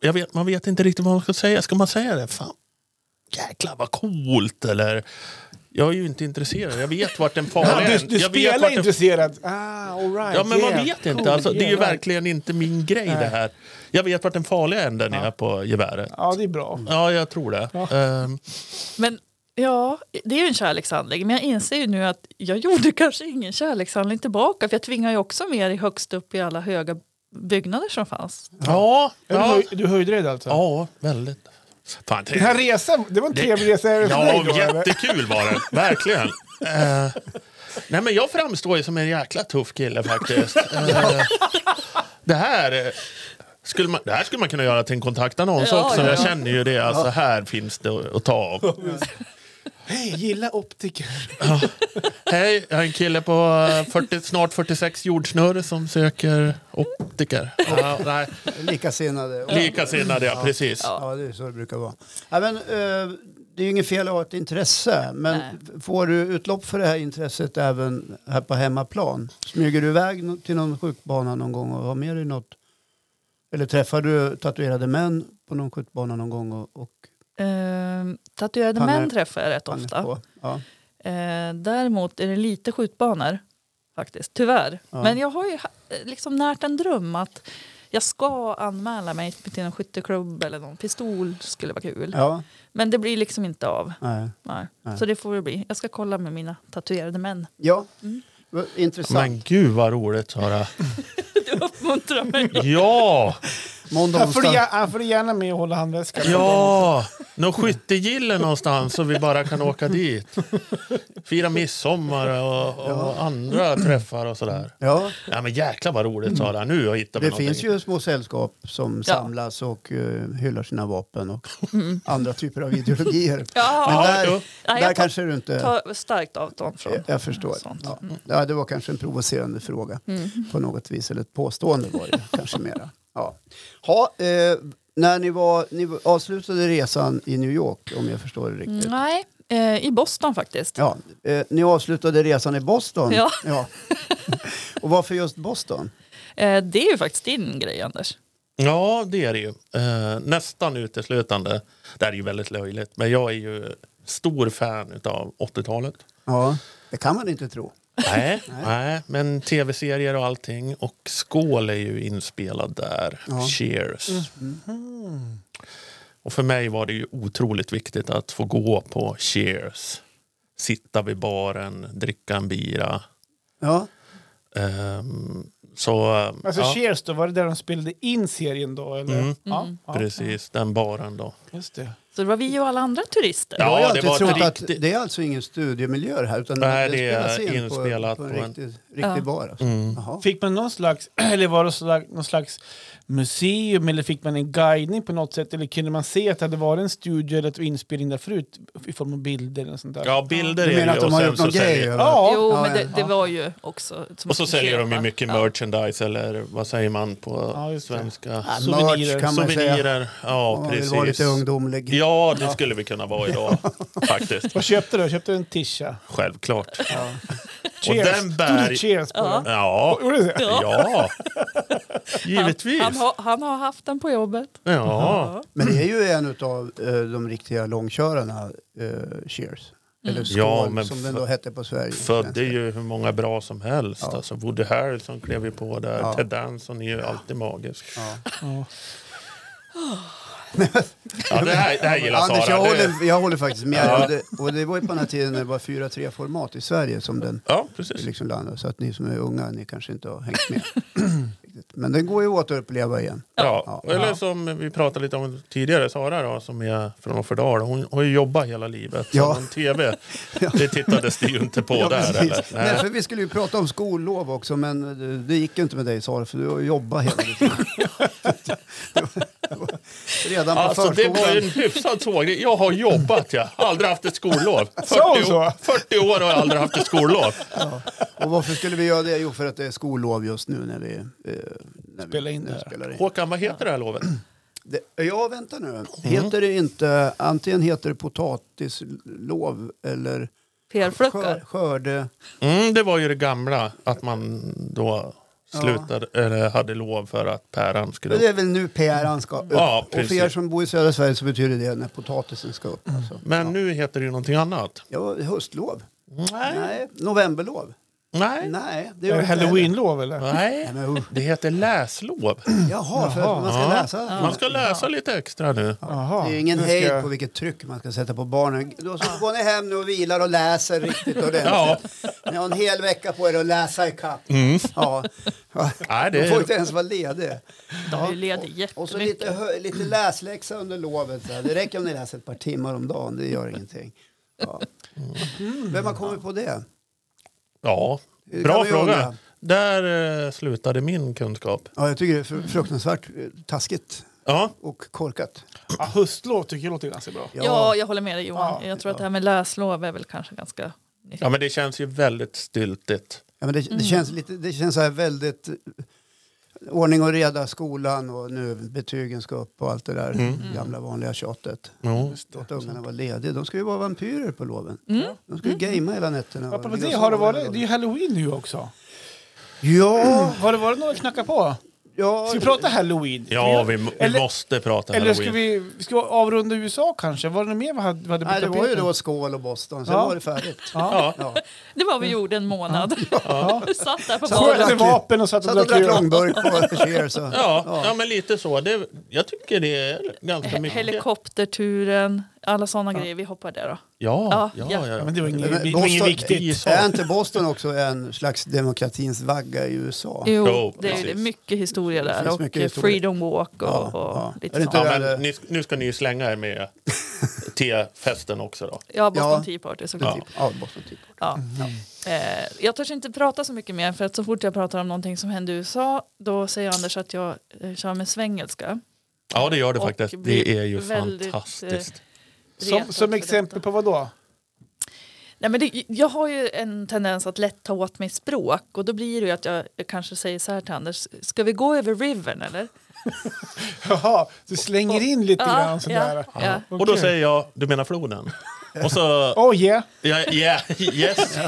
Speaker 4: Jag vet, man vet inte riktigt vad man ska säga. Ska man säga det? Fan, jäklar vad coolt eller? Jag är ju inte intresserad. Jag vet vart den fara
Speaker 2: Ja,
Speaker 4: är.
Speaker 2: du du
Speaker 4: Jag vet vart
Speaker 2: spelar
Speaker 4: den-
Speaker 2: intresserad. Ah, all right,
Speaker 4: Ja, men
Speaker 2: yeah,
Speaker 4: man vet inte.
Speaker 2: cool,
Speaker 4: alltså, det är ju
Speaker 2: yeah, right.
Speaker 4: verkligen inte min grej
Speaker 2: Nej.
Speaker 4: det här. Jag vet vart den farliga änden är på geväret.
Speaker 2: Ja, det är bra.
Speaker 4: Ja, jag tror det.
Speaker 2: Ja.
Speaker 4: Ehm,
Speaker 3: Men ja, det är ju en kärlekshandling. Men jag inser ju nu att jag gjorde kanske ingen kärlekshandling tillbaka. För jag tvingar ju också med er högst upp i alla höga byggnader som fanns.
Speaker 4: ja,
Speaker 2: Ja. Du,
Speaker 4: ja,
Speaker 2: höj, du höjde dig alltså?
Speaker 4: ja, väldigt. Fan,
Speaker 2: Den här resan, det var en
Speaker 4: Det-
Speaker 2: trevlig resa även för dig då,
Speaker 4: Ja,
Speaker 2: eller?
Speaker 4: jättekul var det. Verkligen. Eh, nej, men jag framstår ju som en jäkla tuff kille faktiskt. Eh, det, här, eh, skulle man, det här skulle man kunna göra till en kontaktannons
Speaker 3: Ja,
Speaker 4: också.
Speaker 3: ja,
Speaker 4: Jag
Speaker 3: ja.
Speaker 4: känner ju det. Alltså, här finns det att ta av.
Speaker 2: Hej, gilla optiker.
Speaker 4: Hej, jag är en kille på eh, 40, snart 46 jordsnurr som söker optiker. Ja, nej,
Speaker 1: Likasinnade. Och-
Speaker 4: likasinnade, ja, precis.
Speaker 1: Ja, det är så det brukar vara. Ja, men, eh, det är ju inget fel att ha ett intresse, men
Speaker 3: Nej.
Speaker 1: f- får du utlopp för det här intresset även här på hemmaplan? Smyger du iväg no- till någon skjutbana någon gång och har med dig något? Eller träffar du tatuerade män på någon skjutbana någon gång och, och
Speaker 3: Ehm, tatuerade
Speaker 1: Panner-
Speaker 3: män träffar jag rätt
Speaker 1: fanger
Speaker 3: ofta.
Speaker 1: på? Ja.
Speaker 3: Eh, däremot är det lite skjutbanor, faktiskt. Tyvärr.
Speaker 1: Ja.
Speaker 3: Men jag har ju ha- eh, liksom närt en dröm att jag ska anmäla mig till en skytteklubb eller någon pistol skulle vara kul.
Speaker 1: ja,
Speaker 3: Men det blir liksom inte av.
Speaker 1: nej.
Speaker 3: Nej.
Speaker 1: Nej.
Speaker 3: Så det får det bli. Jag ska kolla med mina tatuerade män.
Speaker 1: ja.
Speaker 3: Mm.
Speaker 1: Vad intressant.
Speaker 4: Men gud vad roligt Sara.
Speaker 3: Du uppmuntrar mig.
Speaker 4: Ja!
Speaker 1: Måndag,
Speaker 2: Han får,
Speaker 1: onsdag.
Speaker 2: gär- han får gärna med och hålla handväskan.
Speaker 4: Ja, någon skyttegille någonstans så vi bara kan åka dit. Fira midsommar och, och andra träffar och sådär.
Speaker 1: Ja,
Speaker 4: Ja, men jäklar vad roligt sa han. Nu har jag hittat
Speaker 1: det
Speaker 4: någonting.
Speaker 1: finns ju små sällskap som
Speaker 3: Ja. Mm.
Speaker 1: samlas och eh, hyllar sina vapen och andra typer av ideologier. Men
Speaker 3: Ja,
Speaker 4: Ja,
Speaker 1: där,
Speaker 4: jo.
Speaker 3: Nej, jag
Speaker 1: där
Speaker 3: tar-
Speaker 1: kanske du inte...
Speaker 3: ta starkt avstånd från.
Speaker 1: Jag, jag förstår.
Speaker 3: sånt. Mm.
Speaker 1: Ja. Ja, det var kanske en provocerande fråga på något vis, eller ett påstående var det kanske mera. Ja. Ha, eh, när ni, var, ni avslutade resan i New York, om jag förstår det
Speaker 3: Mm.
Speaker 1: riktigt.
Speaker 3: Nej, eh, i Boston faktiskt.
Speaker 1: Ja, eh, ni avslutade resan i Boston.
Speaker 3: Ja.
Speaker 1: Och varför just Boston?
Speaker 3: Eh, det är ju faktiskt din grej, Anders.
Speaker 4: Ja, det är det ju. Eh, nästan uteslutande. Det här är ju väldigt löjligt, men jag är ju stor fan av 80-talet.
Speaker 1: Ja, det kan man inte tro.
Speaker 4: Nej, nej, men tv-serier och allting. Och Skål är ju inspelad där.
Speaker 1: Ja. Mm.
Speaker 4: Cheers. Och för mig var det ju otroligt viktigt att få gå på Cheers. Sitta vid baren, dricka en bira.
Speaker 1: Ja,
Speaker 4: Ehm, så,
Speaker 2: Alltså
Speaker 4: ja,
Speaker 2: Cheers då, var det där de spelade in serien då? Eller?
Speaker 4: Mm.
Speaker 2: Ja, ja,
Speaker 4: precis, den baren då.
Speaker 2: Just det.
Speaker 3: Så det var vi och alla andra turister.
Speaker 4: Ja,
Speaker 1: jag har
Speaker 4: det
Speaker 1: alltid
Speaker 4: var ett
Speaker 1: trott att
Speaker 4: riktigt-
Speaker 1: det är alltså ingen studiomiljö här utan
Speaker 4: Nej,
Speaker 1: det,
Speaker 4: det är
Speaker 1: spelas in
Speaker 4: inspelat
Speaker 1: på, på en
Speaker 4: på en-
Speaker 1: riktig, riktig
Speaker 3: Ja.
Speaker 1: bar. Alltså.
Speaker 4: Mm.
Speaker 1: Jaha.
Speaker 2: Fick man någon slags, eller var det slag, någon slags museum eller fick man en guidning på något sätt? Eller kunde man se att det hade varit en studio eller ett inspelning där förut i form av bilder eller sånt där?
Speaker 4: Ja, bilder
Speaker 1: Du
Speaker 4: är
Speaker 1: menar
Speaker 4: det
Speaker 1: att de
Speaker 4: ju. Och,
Speaker 1: har
Speaker 4: sen
Speaker 1: gjort någon
Speaker 4: så
Speaker 1: grej?
Speaker 4: säljer,
Speaker 1: över-
Speaker 2: Ja,
Speaker 3: Jo,
Speaker 1: Ja,
Speaker 3: men det,
Speaker 1: ja,
Speaker 3: det var ju också... som
Speaker 4: och så
Speaker 3: att
Speaker 4: säljer de ju
Speaker 3: köpa.
Speaker 4: mycket
Speaker 3: Ja.
Speaker 4: merchandise eller vad säger man på
Speaker 2: Ja, just det.
Speaker 4: svenska?
Speaker 1: Ja,
Speaker 2: souvenirer.
Speaker 1: merch kan man ju säga.
Speaker 4: Souvenirer. Ja,
Speaker 1: Om man vill
Speaker 4: precis.
Speaker 1: vara lite ungdomlig.
Speaker 4: Ja, det skulle vi kunna vara idag faktiskt.
Speaker 2: Vad köpte du? Köpte du en tisha?
Speaker 4: Självklart. Och
Speaker 2: Cheers!
Speaker 4: den bär...
Speaker 2: Stod det cheers på
Speaker 3: Ja.
Speaker 2: den?
Speaker 4: Ja,
Speaker 2: Gjorde det?
Speaker 4: ja. Givetvis.
Speaker 3: Han, har- han har haft den på jobbet.
Speaker 4: Ja.
Speaker 3: Ja.
Speaker 1: Men det är ju en av de riktiga långkörarna, eh, Cheers. Eller Skål,
Speaker 4: Ja, men
Speaker 1: som den
Speaker 4: fö-
Speaker 1: då hette på Sverige.
Speaker 4: Födde ju hur många bra som helst.
Speaker 1: Ja.
Speaker 4: Alltså Woody Harrelson klev ju på där.
Speaker 1: Ja.
Speaker 4: Ted Danson är ju alltid magisk.
Speaker 1: Ja.
Speaker 2: Ja.
Speaker 4: Ja, det, här, det här gillar
Speaker 1: Anders, jag
Speaker 4: Sara. Det,
Speaker 1: håller, jag håller faktiskt med.
Speaker 4: Ja.
Speaker 1: Och, det, och det var ju på den här tiden när det var 4-3-format i Sverige som den
Speaker 4: ja, precis.
Speaker 1: liksom landade. Så att ni som är unga, ni kanske inte har hängt med. Riktigt. men den går ju att återuppleva igen.
Speaker 4: Ja.
Speaker 1: Ja.
Speaker 4: Eller som vi pratade lite om tidigare, Sara då, som är från Offerdal, hon har ju jobbat hela livet.
Speaker 1: Ja.
Speaker 4: Ja. Men TV, det tittades det ju inte på där.
Speaker 1: precis.
Speaker 4: Eller?
Speaker 1: Nej. för vi skulle ju prata om skollov också, men eh, det, det gick ju inte med dig Sara, för du har ju jobbat hela ditt liv. Det var- det var- Redan på
Speaker 4: Alltså det
Speaker 1: förskolan.
Speaker 4: var ju en hyfsad sågning. Jag har jobbat jag. Aldrig haft ett skollov. 40,
Speaker 2: Sa hon så?
Speaker 4: 40 år har jag aldrig haft ett skollov.
Speaker 1: Och varför skulle vi göra det? Jo, för att det är skollov just nu när vi, eh, när
Speaker 2: Spela
Speaker 1: vi,
Speaker 2: in
Speaker 1: när
Speaker 2: det
Speaker 1: vi
Speaker 2: här.
Speaker 1: spelar in.
Speaker 4: Håkan, vad heter det här lovet?
Speaker 1: Det, ja, vänta
Speaker 4: Mm.
Speaker 1: nu. Heter det inte, antingen heter det potatislov eller skör,
Speaker 3: PR-fluckar.
Speaker 1: skörde...
Speaker 4: Mm, det var ju det gamla, att man då slutade, eller hade lov för att päran skulle
Speaker 1: Det
Speaker 4: upp.
Speaker 1: är väl nu päran ska upp.
Speaker 4: Ja,
Speaker 1: och för
Speaker 4: precis.
Speaker 1: er som bor i södra Sverige så betyder det när potatisen ska upp. Alltså.
Speaker 4: Men nu heter det ju någonting annat.
Speaker 1: Ja, höstlov?
Speaker 4: Nej.
Speaker 1: Nej. Novemberlov?
Speaker 4: Nej.
Speaker 1: Nej.
Speaker 4: Eh,
Speaker 1: Det
Speaker 2: Är det
Speaker 1: inte heller.
Speaker 2: halloweenlov eller?
Speaker 4: Nej.
Speaker 1: men usch.
Speaker 4: Det heter läslov.
Speaker 1: Jaha, för att man ska
Speaker 4: Ja.
Speaker 1: läsa. Mm.
Speaker 4: Man ska läsa lite extra nu.
Speaker 2: Jaha.
Speaker 1: Det är ingen
Speaker 2: Nu ska
Speaker 1: hejd
Speaker 2: jag-
Speaker 1: på vilket tryck man ska sätta på barnen. Då så går ni hem nu och vilar och läser riktigt ordentligt.
Speaker 4: Ja.
Speaker 1: Ni har en hel vecka på er att läsa ikapp. Ja.
Speaker 4: Nej, det
Speaker 1: Du får
Speaker 4: är...
Speaker 1: inte ens vara ledig.
Speaker 3: De är ju ledig
Speaker 1: Och så lite,
Speaker 3: jättemycket.
Speaker 1: hö- lite läsläxa under lovet. så här. Det räcker om ni läser ett par timmar om dagen, det gör ingenting. Ja.
Speaker 4: Mm.
Speaker 1: Vem har kommit på det?
Speaker 4: Ja,
Speaker 1: Det
Speaker 4: bra
Speaker 1: kan vi undra.
Speaker 4: fråga. Där eh, slutade min kunskap.
Speaker 1: Ja, jag tycker det är fr- fruktansvärt eh, taskigt
Speaker 4: Ja,
Speaker 1: och korkat.
Speaker 2: Ja, höstlov tycker jag låter ganska bra.
Speaker 1: Ja.
Speaker 3: Ja, jag håller med dig Johan.
Speaker 2: Ja.
Speaker 3: Jag tror att det här med läslov är väl kanske ganska nytt.
Speaker 4: ja men det känns ju väldigt styltigt.
Speaker 1: Ja, men det, det känns, lite, det känns så här väldigt eh, ordning och reda, skolan och nu betygen ska upp och allt det där
Speaker 2: Mm.
Speaker 1: gamla vanliga tjatet.
Speaker 4: Jo.
Speaker 1: Låt ungarna vara lediga. De ska ju vara vampyrer på loven. De ska ju gamea hela nätterna. och
Speaker 2: Apropå
Speaker 1: ligga
Speaker 2: det,
Speaker 1: och
Speaker 2: har det,
Speaker 1: sova
Speaker 2: varit,
Speaker 1: hela
Speaker 2: det är ju
Speaker 1: dagen.
Speaker 2: halloween nu också.
Speaker 1: Ja,
Speaker 2: Har det varit några knacka på?
Speaker 1: ja,
Speaker 2: Ska vi prata halloween?
Speaker 4: Ja, vi, vi
Speaker 2: eller,
Speaker 4: måste prata
Speaker 2: Eller ska
Speaker 4: halloween.
Speaker 2: vi, ska vi avrunda USA kanske? Var det något mer vi hade, vi hade på
Speaker 1: Nej, det var ju
Speaker 2: tapeten?
Speaker 1: då skål och Boston, sen
Speaker 2: Ja.
Speaker 1: var det färdigt.
Speaker 4: Ja.
Speaker 1: Ja.
Speaker 3: Det var vi gjorde en månad. Satt där på
Speaker 1: Satt
Speaker 3: baren.
Speaker 1: där.
Speaker 2: Sköt med vapen och satt och
Speaker 1: Satt och
Speaker 2: drack
Speaker 1: drack
Speaker 2: öl.
Speaker 1: långburk på Cheers. Och,
Speaker 4: Ja, ja. men lite så. Det, jag tycker det är ganska mycket.
Speaker 3: Helikopterturen, Alla sådana grejer, vi hoppar det då.
Speaker 4: Ja,
Speaker 3: Ja,
Speaker 4: ja, ja.
Speaker 3: ja.
Speaker 4: ja.
Speaker 2: Men det var inget,
Speaker 1: Men
Speaker 2: det var inget
Speaker 1: Boston-
Speaker 2: viktigt.
Speaker 4: Så.
Speaker 1: Är inte Boston också en slags demokratins vagga i USA?
Speaker 3: Jo,
Speaker 4: Jo,
Speaker 3: det är ju
Speaker 4: precis.
Speaker 3: det. mycket historia
Speaker 1: Det
Speaker 3: där
Speaker 1: finns
Speaker 3: och
Speaker 1: mycket
Speaker 3: eh,
Speaker 1: historia.
Speaker 3: freedom walk och,
Speaker 1: Ja,
Speaker 3: och
Speaker 1: ja. Är
Speaker 3: lite
Speaker 1: det
Speaker 3: sånt.
Speaker 4: ja men ni, nu ska ni ju slänga er med tefesten också då.
Speaker 3: Ja, Boston
Speaker 1: Ja.
Speaker 3: Tea Party såklart. Ja.
Speaker 1: Ja, Boston typ.
Speaker 2: Mm.
Speaker 3: Eh, jag törs inte prata så mycket mer för att så fort jag pratar om någonting som hände i USA då säger Anders att jag eh, kör med svengelska.
Speaker 4: Ja, det gör det
Speaker 3: Och
Speaker 4: faktiskt.
Speaker 3: blir
Speaker 4: Det är ju
Speaker 3: väldigt, eh,
Speaker 4: fantastiskt.
Speaker 2: Som,
Speaker 3: Retad
Speaker 2: som
Speaker 3: för
Speaker 2: exempel på
Speaker 3: detta.
Speaker 2: vad då?
Speaker 3: Nej, men det, jag har ju en tendens att lätt ta åt mig språk och då blir det ju att jag, jag kanske säger så här till Anders, ska vi gå över rivern eller?
Speaker 2: Jaha, du slänger in lite grann sådär.
Speaker 3: ja, ja.
Speaker 4: Och då
Speaker 2: Okej.
Speaker 4: säger jag, du menar floden? Och så,
Speaker 2: Oh yeah.
Speaker 4: ja, ja, yes,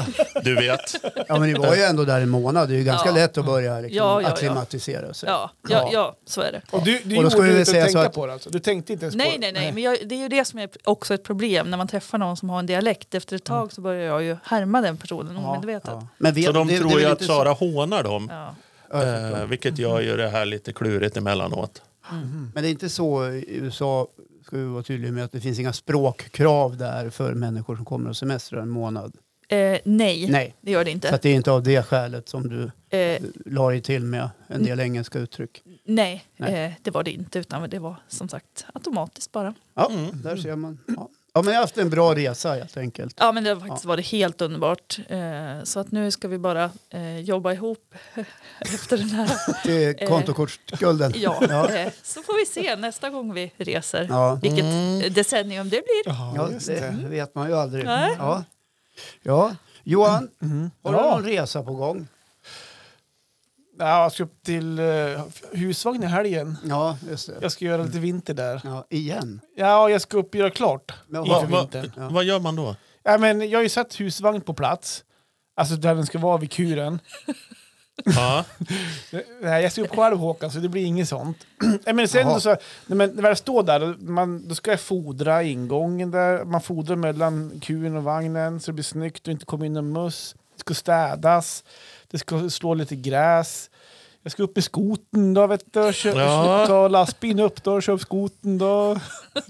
Speaker 4: du vet.
Speaker 1: Ja, men ni var ju ändå där en månad. Det är ju ganska
Speaker 3: Ja. Mm.
Speaker 1: lätt att börja liksom,
Speaker 3: Ja, ja, ja.
Speaker 1: acklimatisera sig.
Speaker 3: Ja, ja,
Speaker 1: Ja.
Speaker 3: ja, så är det.
Speaker 2: Och du, du
Speaker 1: Och då ska
Speaker 2: gjorde
Speaker 1: vi
Speaker 2: det utan
Speaker 1: säga
Speaker 2: att
Speaker 1: så
Speaker 2: tänka
Speaker 1: att-
Speaker 2: på det alltså? Du tänkte inte ens på
Speaker 3: Nej,
Speaker 2: det?
Speaker 3: nej, nej, men jag, det är ju det som är också ett problem när man träffar någon som har en dialekt. Efter ett
Speaker 2: Mm.
Speaker 3: tag så börjar jag ju härma den personen omedvetet.
Speaker 1: Ja. Men vet,
Speaker 4: Så de
Speaker 1: det- det är
Speaker 4: tror
Speaker 1: väl
Speaker 4: ju att
Speaker 1: inte så-
Speaker 4: Sara hånar dem,
Speaker 3: Ja.
Speaker 1: Ja, jag
Speaker 4: eh, vilket gör ju det här lite klurigt emellanåt.
Speaker 1: Men det är inte så i USA, ska vi vara tydliga med, att det finns inga språkkrav där för människor som kommer och semestrar en månad.
Speaker 3: Eh, nej,
Speaker 1: Nej.
Speaker 3: det gör det inte.
Speaker 1: Så att det är inte av det skälet som du
Speaker 3: Eh, Mm.
Speaker 1: la dig till med en del engelska uttryck.
Speaker 3: nej,
Speaker 1: Nej.
Speaker 3: Eh, det var det inte, utan det var som sagt automatiskt bara.
Speaker 1: Ja,
Speaker 4: Mm.
Speaker 1: där ser man. Ja. ja, men jag har haft en bra resa helt enkelt.
Speaker 3: Ja, men det har faktiskt varit helt underbart. Eh, så att nu ska vi bara eh, jobba ihop efter den här.
Speaker 1: Till kontokortsskulden.
Speaker 3: Eh. Ja,
Speaker 1: Ja.
Speaker 3: Eh, så får vi se nästa gång vi reser
Speaker 1: Ja.
Speaker 3: vilket eh, decennium det blir.
Speaker 1: Ja,
Speaker 2: Ja, just det.
Speaker 1: det vet man ju aldrig.
Speaker 3: Nej.
Speaker 1: Ja. Ja. Johan,
Speaker 2: Mm.
Speaker 1: har du
Speaker 2: Ja.
Speaker 1: någon resa på gång?
Speaker 2: Ja, jag ska upp till eh, husvagn i helgen.
Speaker 1: Ja, just det.
Speaker 2: Jag ska göra lite vinter där.
Speaker 1: Ja, igen.
Speaker 2: Ja, jag ska upp och göra klart
Speaker 1: Men
Speaker 2: inför
Speaker 1: vad-
Speaker 2: vintern.
Speaker 1: Ja.
Speaker 4: Vad gör man då?
Speaker 2: Ja, men jag har ju sett husvagn på plats. Alltså där den ska vara vid kuren.
Speaker 4: Ja,
Speaker 2: Nej, jag ska upp själv Håkan, så det blir inget sånt. Nej, men sen
Speaker 1: Jaha.
Speaker 2: då så, nej, men när jag står där, då- man, då ska jag fodra ingången där. Man fodrar mellan kuren och vagnen så det blir snyggt och inte kommer in någon möss. Det ska städas, det ska slå lite gräs. Jag ska upp i skoten då, vet du. och Kö-
Speaker 4: Ja.
Speaker 2: Ta lastbilen upp då och köp skoten då.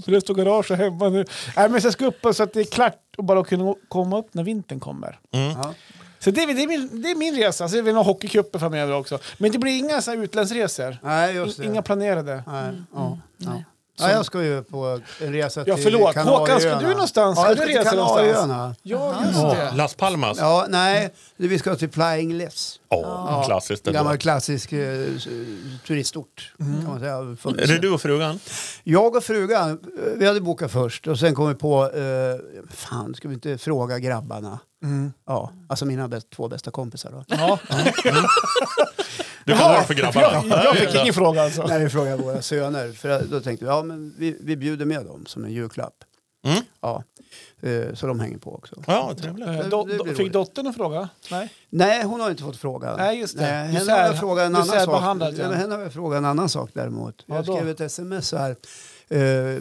Speaker 2: För det står garage här hemma nu. Nej, men så jag ska upp så att det är klart och bara kunna komma upp när vintern kommer.
Speaker 4: Mm.
Speaker 1: Ja.
Speaker 2: Så det är, det, är min, det är min resa. Så är vi några hockeycuper framöver också. Men det blir inga så här utlandsresor.
Speaker 1: Nej,
Speaker 2: In,
Speaker 1: just det.
Speaker 2: inga planerade.
Speaker 1: Nej. Ja. Ja.
Speaker 3: Nej.
Speaker 1: Ja, jag ska ju på en resa till
Speaker 2: Ja, förlåt.
Speaker 1: Kanarieöarna.
Speaker 2: Håkan, ska du någonstans?
Speaker 1: Ja,
Speaker 2: Ska
Speaker 1: jag
Speaker 2: du
Speaker 1: ska till
Speaker 2: resa
Speaker 1: Kanarieöarna.
Speaker 2: Ja, just det.
Speaker 4: Las Palmas.
Speaker 1: Ja, nej,
Speaker 2: Mm.
Speaker 1: vi ska till Flying Lips.
Speaker 4: Ja, klassiskt.
Speaker 1: En gammal
Speaker 4: ändå.
Speaker 1: klassisk eh, s- turistort.
Speaker 2: Mm.
Speaker 1: Kan man säga.
Speaker 4: Är det du och frugan?
Speaker 1: Jag och frugan, eh, vi hade bokat först och sen kom vi på, eh, fan ska vi inte fråga grabbarna? Ja, alltså mina bäst, två bästa kompisar då.
Speaker 2: Mm. Ja.
Speaker 4: Du kallar dem för grabbarna.
Speaker 2: Jag, jag fick ingen fråga alltså.
Speaker 1: När vi frågade våra söner, för då tänkte vi, ja men vi, vi bjuder med dem som en julklapp.
Speaker 4: Mm.
Speaker 1: Ja, eh, så de hänger på också.
Speaker 4: Ja, trevligt.
Speaker 2: Eh,
Speaker 1: Det-
Speaker 2: Do,
Speaker 1: det
Speaker 2: do,
Speaker 1: blir
Speaker 2: fick
Speaker 1: roligt.
Speaker 2: dottern en fråga? Nej.
Speaker 1: Nej, hon har inte fått frågan.
Speaker 2: Nej, just det.
Speaker 1: Nej,
Speaker 2: Du
Speaker 1: henne har jag
Speaker 2: sär-
Speaker 1: frågat en
Speaker 2: du
Speaker 1: annan sak.
Speaker 2: särbehandlade
Speaker 1: Ja,
Speaker 2: den.
Speaker 1: Henne har jag frågat en annan sak däremot. Jag
Speaker 2: Vadå?
Speaker 1: skrev ett sms så här. eh,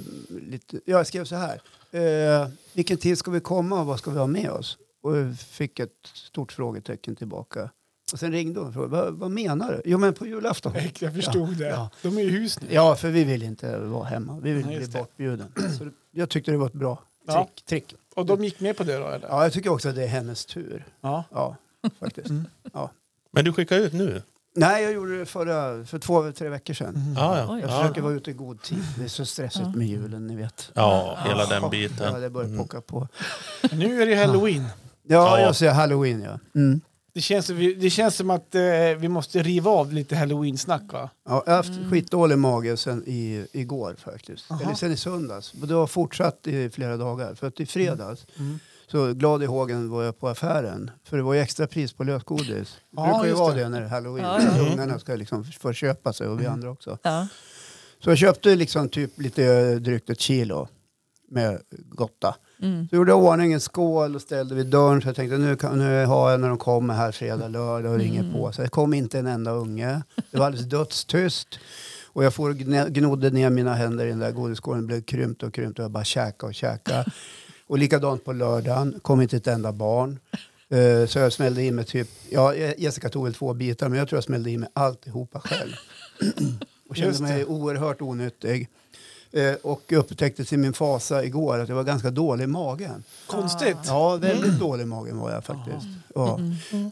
Speaker 1: lite, ja, jag skrev så här. eh, vilken tid ska vi komma och vad ska vi ha med oss? Och jag fick ett stort frågetecken tillbaka. Och sen ringde hon och frågade, vad, vad menar du? Jo, men på julafton.
Speaker 2: Jag förstod det.
Speaker 1: ja.
Speaker 2: De är ju i hus nu.
Speaker 1: Ja, för vi vill inte vara hemma. Vi vill
Speaker 2: Nej,
Speaker 1: bli
Speaker 2: just det.
Speaker 1: bortbjuden. Så det- jag tyckte det var ett bra
Speaker 2: Ja.
Speaker 1: trick, trick.
Speaker 2: Och de gick med på det då eller?
Speaker 1: Ja, jag tycker också att det är hennes tur.
Speaker 2: Ja.
Speaker 1: Ja, faktiskt. Ja.
Speaker 4: Men du skickar ut
Speaker 1: Mm.
Speaker 4: nu?
Speaker 1: Nej, jag gjorde det förra, för två, tre veckor sedan.
Speaker 2: Mm.
Speaker 4: Ja, ja.
Speaker 3: Oj.
Speaker 1: Jag
Speaker 4: ja.
Speaker 1: försöker vara ute i god tid. Det är så stressigt med julen, ni vet.
Speaker 4: ja hela den
Speaker 1: Ja,
Speaker 4: biten. Mm.
Speaker 1: det börjar pocka på.
Speaker 2: Men Nu är det ju halloween.
Speaker 1: Ja,
Speaker 4: Ja.
Speaker 1: jag ser halloween ja. Mm.
Speaker 2: Det känns, som vi- det känns som att eh, vi måste riva av lite halloween-snack va?
Speaker 1: ja jag har haft
Speaker 2: Mm.
Speaker 1: skitdålig mage sen i, igår faktiskt. Eller sen i söndags. Och det har fortsatt i flera dagar. För att
Speaker 2: Mm.
Speaker 1: i fredags, så glad i hågen var jag på affären. För det var ju extra pris på lösgodis. Det
Speaker 2: Ja,
Speaker 1: brukar ju
Speaker 2: just
Speaker 1: vara
Speaker 2: det.
Speaker 1: det när det är halloween.
Speaker 3: Ja, ja.
Speaker 1: Ungarna ska liksom få köpa sig och vi andra också.
Speaker 3: Ja.
Speaker 1: Så jag köpte liksom typ lite eh, drygt ett kilo med Gotta.
Speaker 3: Mm.
Speaker 1: Så gjorde jag i ordning en skål och ställde vid dörren så jag tänkte nu, kan, nu har jag när de kommer här fredag, lördag och ringer på. Så det kom inte en enda unge. Det var alldeles dödstyst. Och jag for och gne- gnodde ner mina händer i den där godisskålen. Det blev krympt och krympt och jag bara käka och käka. Och likadant på lördagen, kom inte ett enda barn. Eh, Så jag smällde i mig typ, ja Jessica tog väl två bitar men jag tror jag smällde i mig alltihopa själv. Och kände
Speaker 2: Just det.
Speaker 1: mig oerhört onyttig. Eh, och jag upptäckte till min fasa igår att jag var ganska dålig i magen.
Speaker 2: Konstigt.
Speaker 1: Ja, väldigt dålig i magen var jag faktiskt. Ja.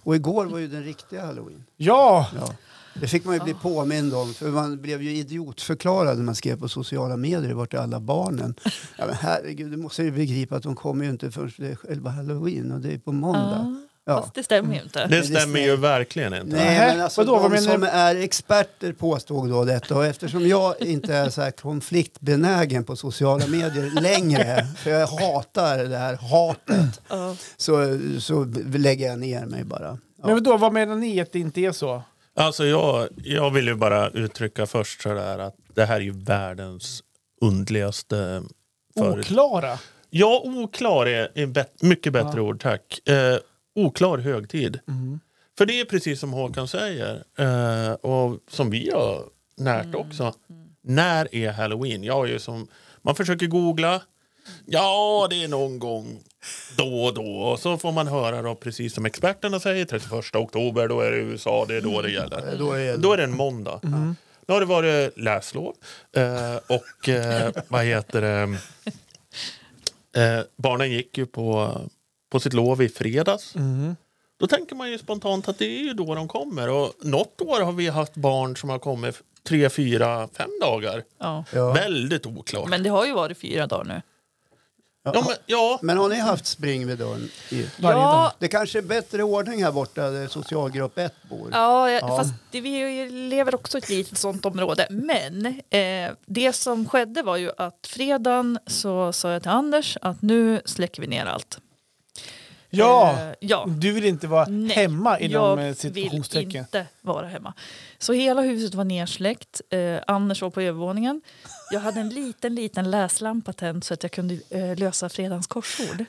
Speaker 1: Och igår var ju den riktiga halloween.
Speaker 2: Ja,
Speaker 1: Ja. Det fick man ju bli påmind om, för man blev ju idiotförklarad när man skrev på sociala medier vart är alla barnen? Ja, men herregud, du måste ju begripa att de kommer ju inte förrän det är själva halloween och det är på måndag. Ja.
Speaker 3: Fast Mm. det stämmer ju inte.
Speaker 4: Det stämmer ju verkligen inte.
Speaker 1: Nej,
Speaker 2: Nej,
Speaker 1: men alltså
Speaker 2: vadå, vad
Speaker 1: de
Speaker 2: menar
Speaker 1: som
Speaker 2: du?
Speaker 1: är experter påstod då detta och eftersom jag inte är så här konfliktbenägen på sociala medier längre, för jag hatar det här hatet,
Speaker 3: Ja.
Speaker 1: så, så lägger jag ner mig bara. Ja.
Speaker 2: men då vad menar ni att det inte är så?
Speaker 4: Alltså jag, jag vill ju bara uttrycka först sådär att det här är ju världens undligaste företag.
Speaker 2: Oklara?
Speaker 4: Ja, oklar är är bet- mycket bättre ord, tack. Eh, oklar högtid.
Speaker 1: Mm.
Speaker 4: För det är precis som Håkan säger, eh, och som vi har närt också. När är halloween? Jag är ju som, man försöker googla. Ja, det är någon gång då och då. Och så får man höra då, precis som experterna säger, 31 oktober, då är det USA, det är då det gäller.
Speaker 1: Mm. Då är Mm.
Speaker 4: Då är det en måndag. Nu har det varit läslov eh, och eh, vad heter det? Eh, barnen gick ju på, på sitt lov i fredags.
Speaker 2: Mm.
Speaker 1: Mm.
Speaker 4: Då tänker man ju spontant att det är ju då de kommer. Och något år har vi haft barn som har kommit tre, fyra, fem dagar.
Speaker 3: Ja.
Speaker 1: Ja.
Speaker 4: Väldigt oklart.
Speaker 3: Men det har ju varit fyra dagar nu.
Speaker 4: ja, men, ja,
Speaker 1: Men har ni haft spring vid dörren? I?
Speaker 2: Varje dag.
Speaker 3: Ja,
Speaker 1: Det kanske är bättre ordning här borta där socialgrupp 1 bor.
Speaker 3: Ja, jag-
Speaker 1: Ja.
Speaker 3: fast det, vi lever också i ett litet sånt område. Men eh, det som skedde var ju att fredagen så sa jag till Anders att nu släcker vi ner allt.
Speaker 2: Ja,
Speaker 3: Eh, ja.
Speaker 2: du vill inte vara
Speaker 3: Nej,
Speaker 2: hemma inom eh,
Speaker 3: jag vill
Speaker 2: situationstecken.
Speaker 3: inte vara hemma. Så hela huset var nersläckt. Eh, Anders var på övervåningen. Jag hade en liten, liten läslampa tänd så att jag kunde eh, lösa fredagens korsord.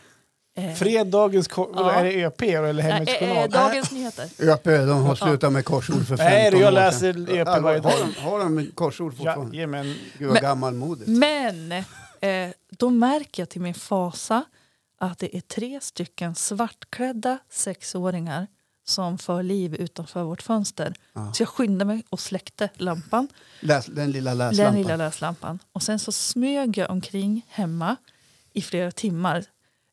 Speaker 3: Eh,
Speaker 2: Fredagens ko-
Speaker 3: Ja.
Speaker 2: är det ÖP eller Hemmets
Speaker 3: eh, eh,
Speaker 2: Journal?
Speaker 3: dagens nyheter.
Speaker 1: Öppe, E de har slutat med korsord för 15
Speaker 2: Nej, det
Speaker 1: år
Speaker 2: jag
Speaker 1: sedan.
Speaker 2: läser EP varje
Speaker 1: Allvar,
Speaker 2: dag.
Speaker 1: har, de, har de korsord
Speaker 2: Ja,
Speaker 1: fortfarande?
Speaker 2: jajamän.
Speaker 1: Gud vad gammalmodigt.
Speaker 3: Men eh, då märker jag till min fasa att det är tre stycken svartklädda sexåringar som för liv utanför vårt fönster. Så jag skyndade mig och släckte lampan,
Speaker 1: Läs, den lilla
Speaker 3: den
Speaker 1: läslampan.
Speaker 3: lilla läslampan. Och sen så smög jag omkring hemma i flera timmar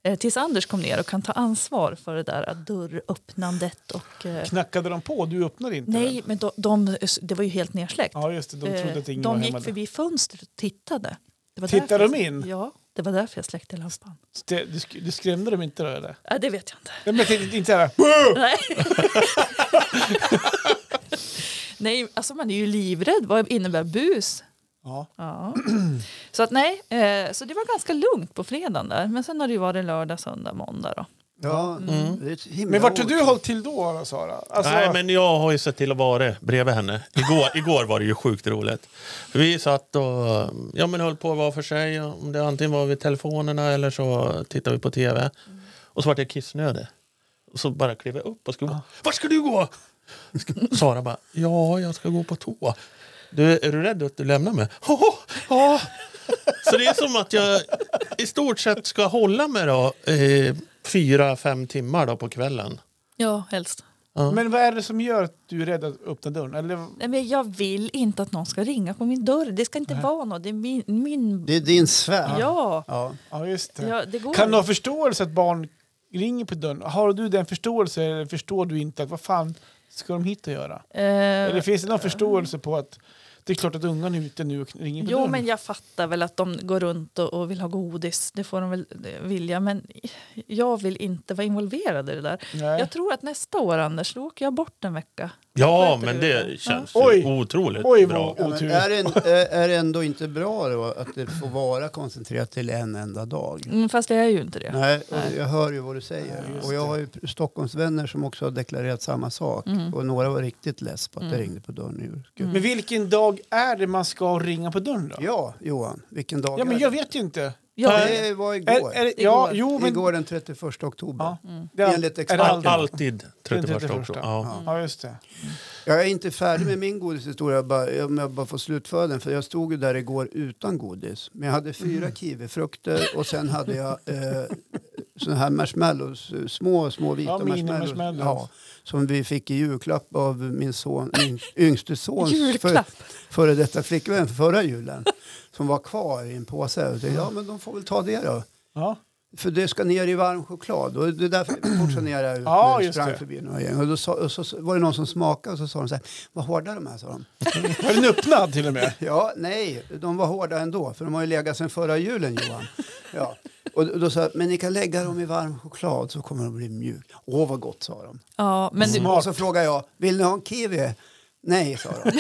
Speaker 3: eh, tills Anders kom ner och kan ta ansvar för det där dörröppnandet. Och, eh,
Speaker 2: Knackade de på? Du öppnade inte? väl?
Speaker 3: nej, men de, de, det var ju helt nersläckt.
Speaker 2: Ja, just det. De trodde att
Speaker 3: Eh,
Speaker 2: ingen var
Speaker 3: de gick
Speaker 2: hemma. Förbi.
Speaker 3: förbi fönstret och tittade. Det var
Speaker 2: Tittade
Speaker 3: därför-
Speaker 2: de in?
Speaker 3: Ja, det var därför jag släckte lampan.
Speaker 2: Det, du, sk- du skrämde dem inte då eller?
Speaker 3: Äh, det vet jag inte.
Speaker 2: Nej, men jag tänkte inte så här.
Speaker 3: Nej. nej, alltså man är ju livrädd. Vad innebär bus?
Speaker 2: Ja.
Speaker 3: Ja. Så att nej, eh, så det var ganska lugnt på fredagen där. Men sen har det ju varit lördag, söndag, måndag då.
Speaker 1: Ja,
Speaker 3: Mm.
Speaker 1: det är ett himla
Speaker 2: Men vart har
Speaker 1: ord.
Speaker 2: du hållit till då, då Sara? Alltså,
Speaker 4: Nej, men jag har ju sett till att vara bredvid henne. Igår, igår var det ju sjukt roligt. Vi satt och ja, men höll på var för sig. Om det antingen var vid telefonerna eller så tittade vi på tv. Och så vart jag kissnödig. Och så bara klev jag upp och skulle gå. Vart ska du gå? Ska- Sara bara, ja, jag ska gå på toa. Du, är du rädd att du lämnar mig? "Haha, Ja. Så det är som att jag i stort sett ska hålla mig då, eh, fyra, fem timmar då på kvällen.
Speaker 3: Ja, helst.
Speaker 2: men vad är det som gör att du är rädd att öppna dörren? Eller,
Speaker 3: Nej, men jag vill inte att någon ska ringa på min dörr. Det ska inte vara någon. Det är min... min...
Speaker 1: Det är din sfär.
Speaker 3: Ja.
Speaker 1: Ja.
Speaker 2: ja, just det.
Speaker 3: ja, det går
Speaker 2: Kan du ha förståelse att barn ringer på dörren? Har du den förståelse eller förstår du inte att vad fan ska de hit och göra?
Speaker 3: Eh,
Speaker 2: Eller finns det någon förståelse på att det är klart att ungarna är ute nu och ringer på
Speaker 3: Jo,
Speaker 2: dörren?
Speaker 3: men jag fattar väl att de går runt och, och vill ha godis. Det får de väl eh, vilja. Men jag vill inte vara involverad i det där.
Speaker 2: Nej.
Speaker 3: Jag tror att nästa år, Anders, då åker jag bort en vecka.
Speaker 4: Ja,
Speaker 3: Sköter
Speaker 4: men
Speaker 3: du
Speaker 4: det
Speaker 3: det?
Speaker 4: känns
Speaker 2: Ja.
Speaker 4: ju
Speaker 2: Oj.
Speaker 4: otroligt
Speaker 2: Oj, vad-
Speaker 4: bra.
Speaker 1: Ja, men
Speaker 2: Otur.
Speaker 1: är, det, är- är det ändå inte bra då att det får vara koncentrerat till en enda dag?
Speaker 3: Mm, fast jag är ju inte det.
Speaker 1: Nej, och jag hör ju vad du säger.
Speaker 2: Ja, just
Speaker 1: och jag har ju Stockholmsvänner som också har deklarerat samma sak.
Speaker 3: Mm.
Speaker 1: Och några var riktigt less på att det ringde på dörren. i år. Gud.
Speaker 2: Men vilken dag är det man ska ringa på dörren då? Ja,
Speaker 1: Ja, Johan, vilken dag
Speaker 2: men
Speaker 1: är
Speaker 2: jag
Speaker 1: det?
Speaker 2: vet ju inte.
Speaker 3: Jag,
Speaker 1: Det var igår.
Speaker 2: Är, är, det- ja,
Speaker 3: Igår.
Speaker 2: jo, men...
Speaker 1: Igår den 31 oktober.
Speaker 2: Ja,
Speaker 3: Mm.
Speaker 2: det är,
Speaker 1: Enligt
Speaker 2: är det
Speaker 4: All,
Speaker 1: experterna.
Speaker 4: alltid 31 också.
Speaker 2: 31.
Speaker 4: Ja.
Speaker 2: Ja, just det.
Speaker 1: Jag är inte färdig med min godishistoria jag bara- om jag bara får slutföra den. För jag stod ju där
Speaker 2: Mm.
Speaker 1: igår utan godis. Men jag hade fyra kiwifrukter och sen hade jag eh, sådana här marshmallows, små, små vita
Speaker 2: Ja,
Speaker 1: marshmallows.
Speaker 2: mini-marshmallows.
Speaker 1: Ja, som vi fick i julklapp av min, son, min yngste sons för,
Speaker 3: Julklapp.
Speaker 1: före detta flickvän förra julen. Som var kvar i en påse. Jag tänkte, ja men de får väl ta det då.
Speaker 2: Ja.
Speaker 1: För det ska ner i varm choklad. Och det är därför jag motionerade ut
Speaker 2: Ja,
Speaker 1: när jag
Speaker 2: just
Speaker 1: sprang
Speaker 2: det.
Speaker 1: förbi några gäng. Och, då sa, och så var det någon som smakade och så sa de så här, vad hårda de är sa de.
Speaker 2: Var den öppnad till och med?
Speaker 1: Ja, nej, de var hårda ändå för de har ju legat sedan förra julen Johan. Ja. Och då då sa jag, men ni kan lägga dem i varm choklad så kommer de bli mjuka. Åh vad gott sa de.
Speaker 3: Ja, men du,
Speaker 1: Och så frågade jag, vill ni ha en kiwi? Nej, sa de.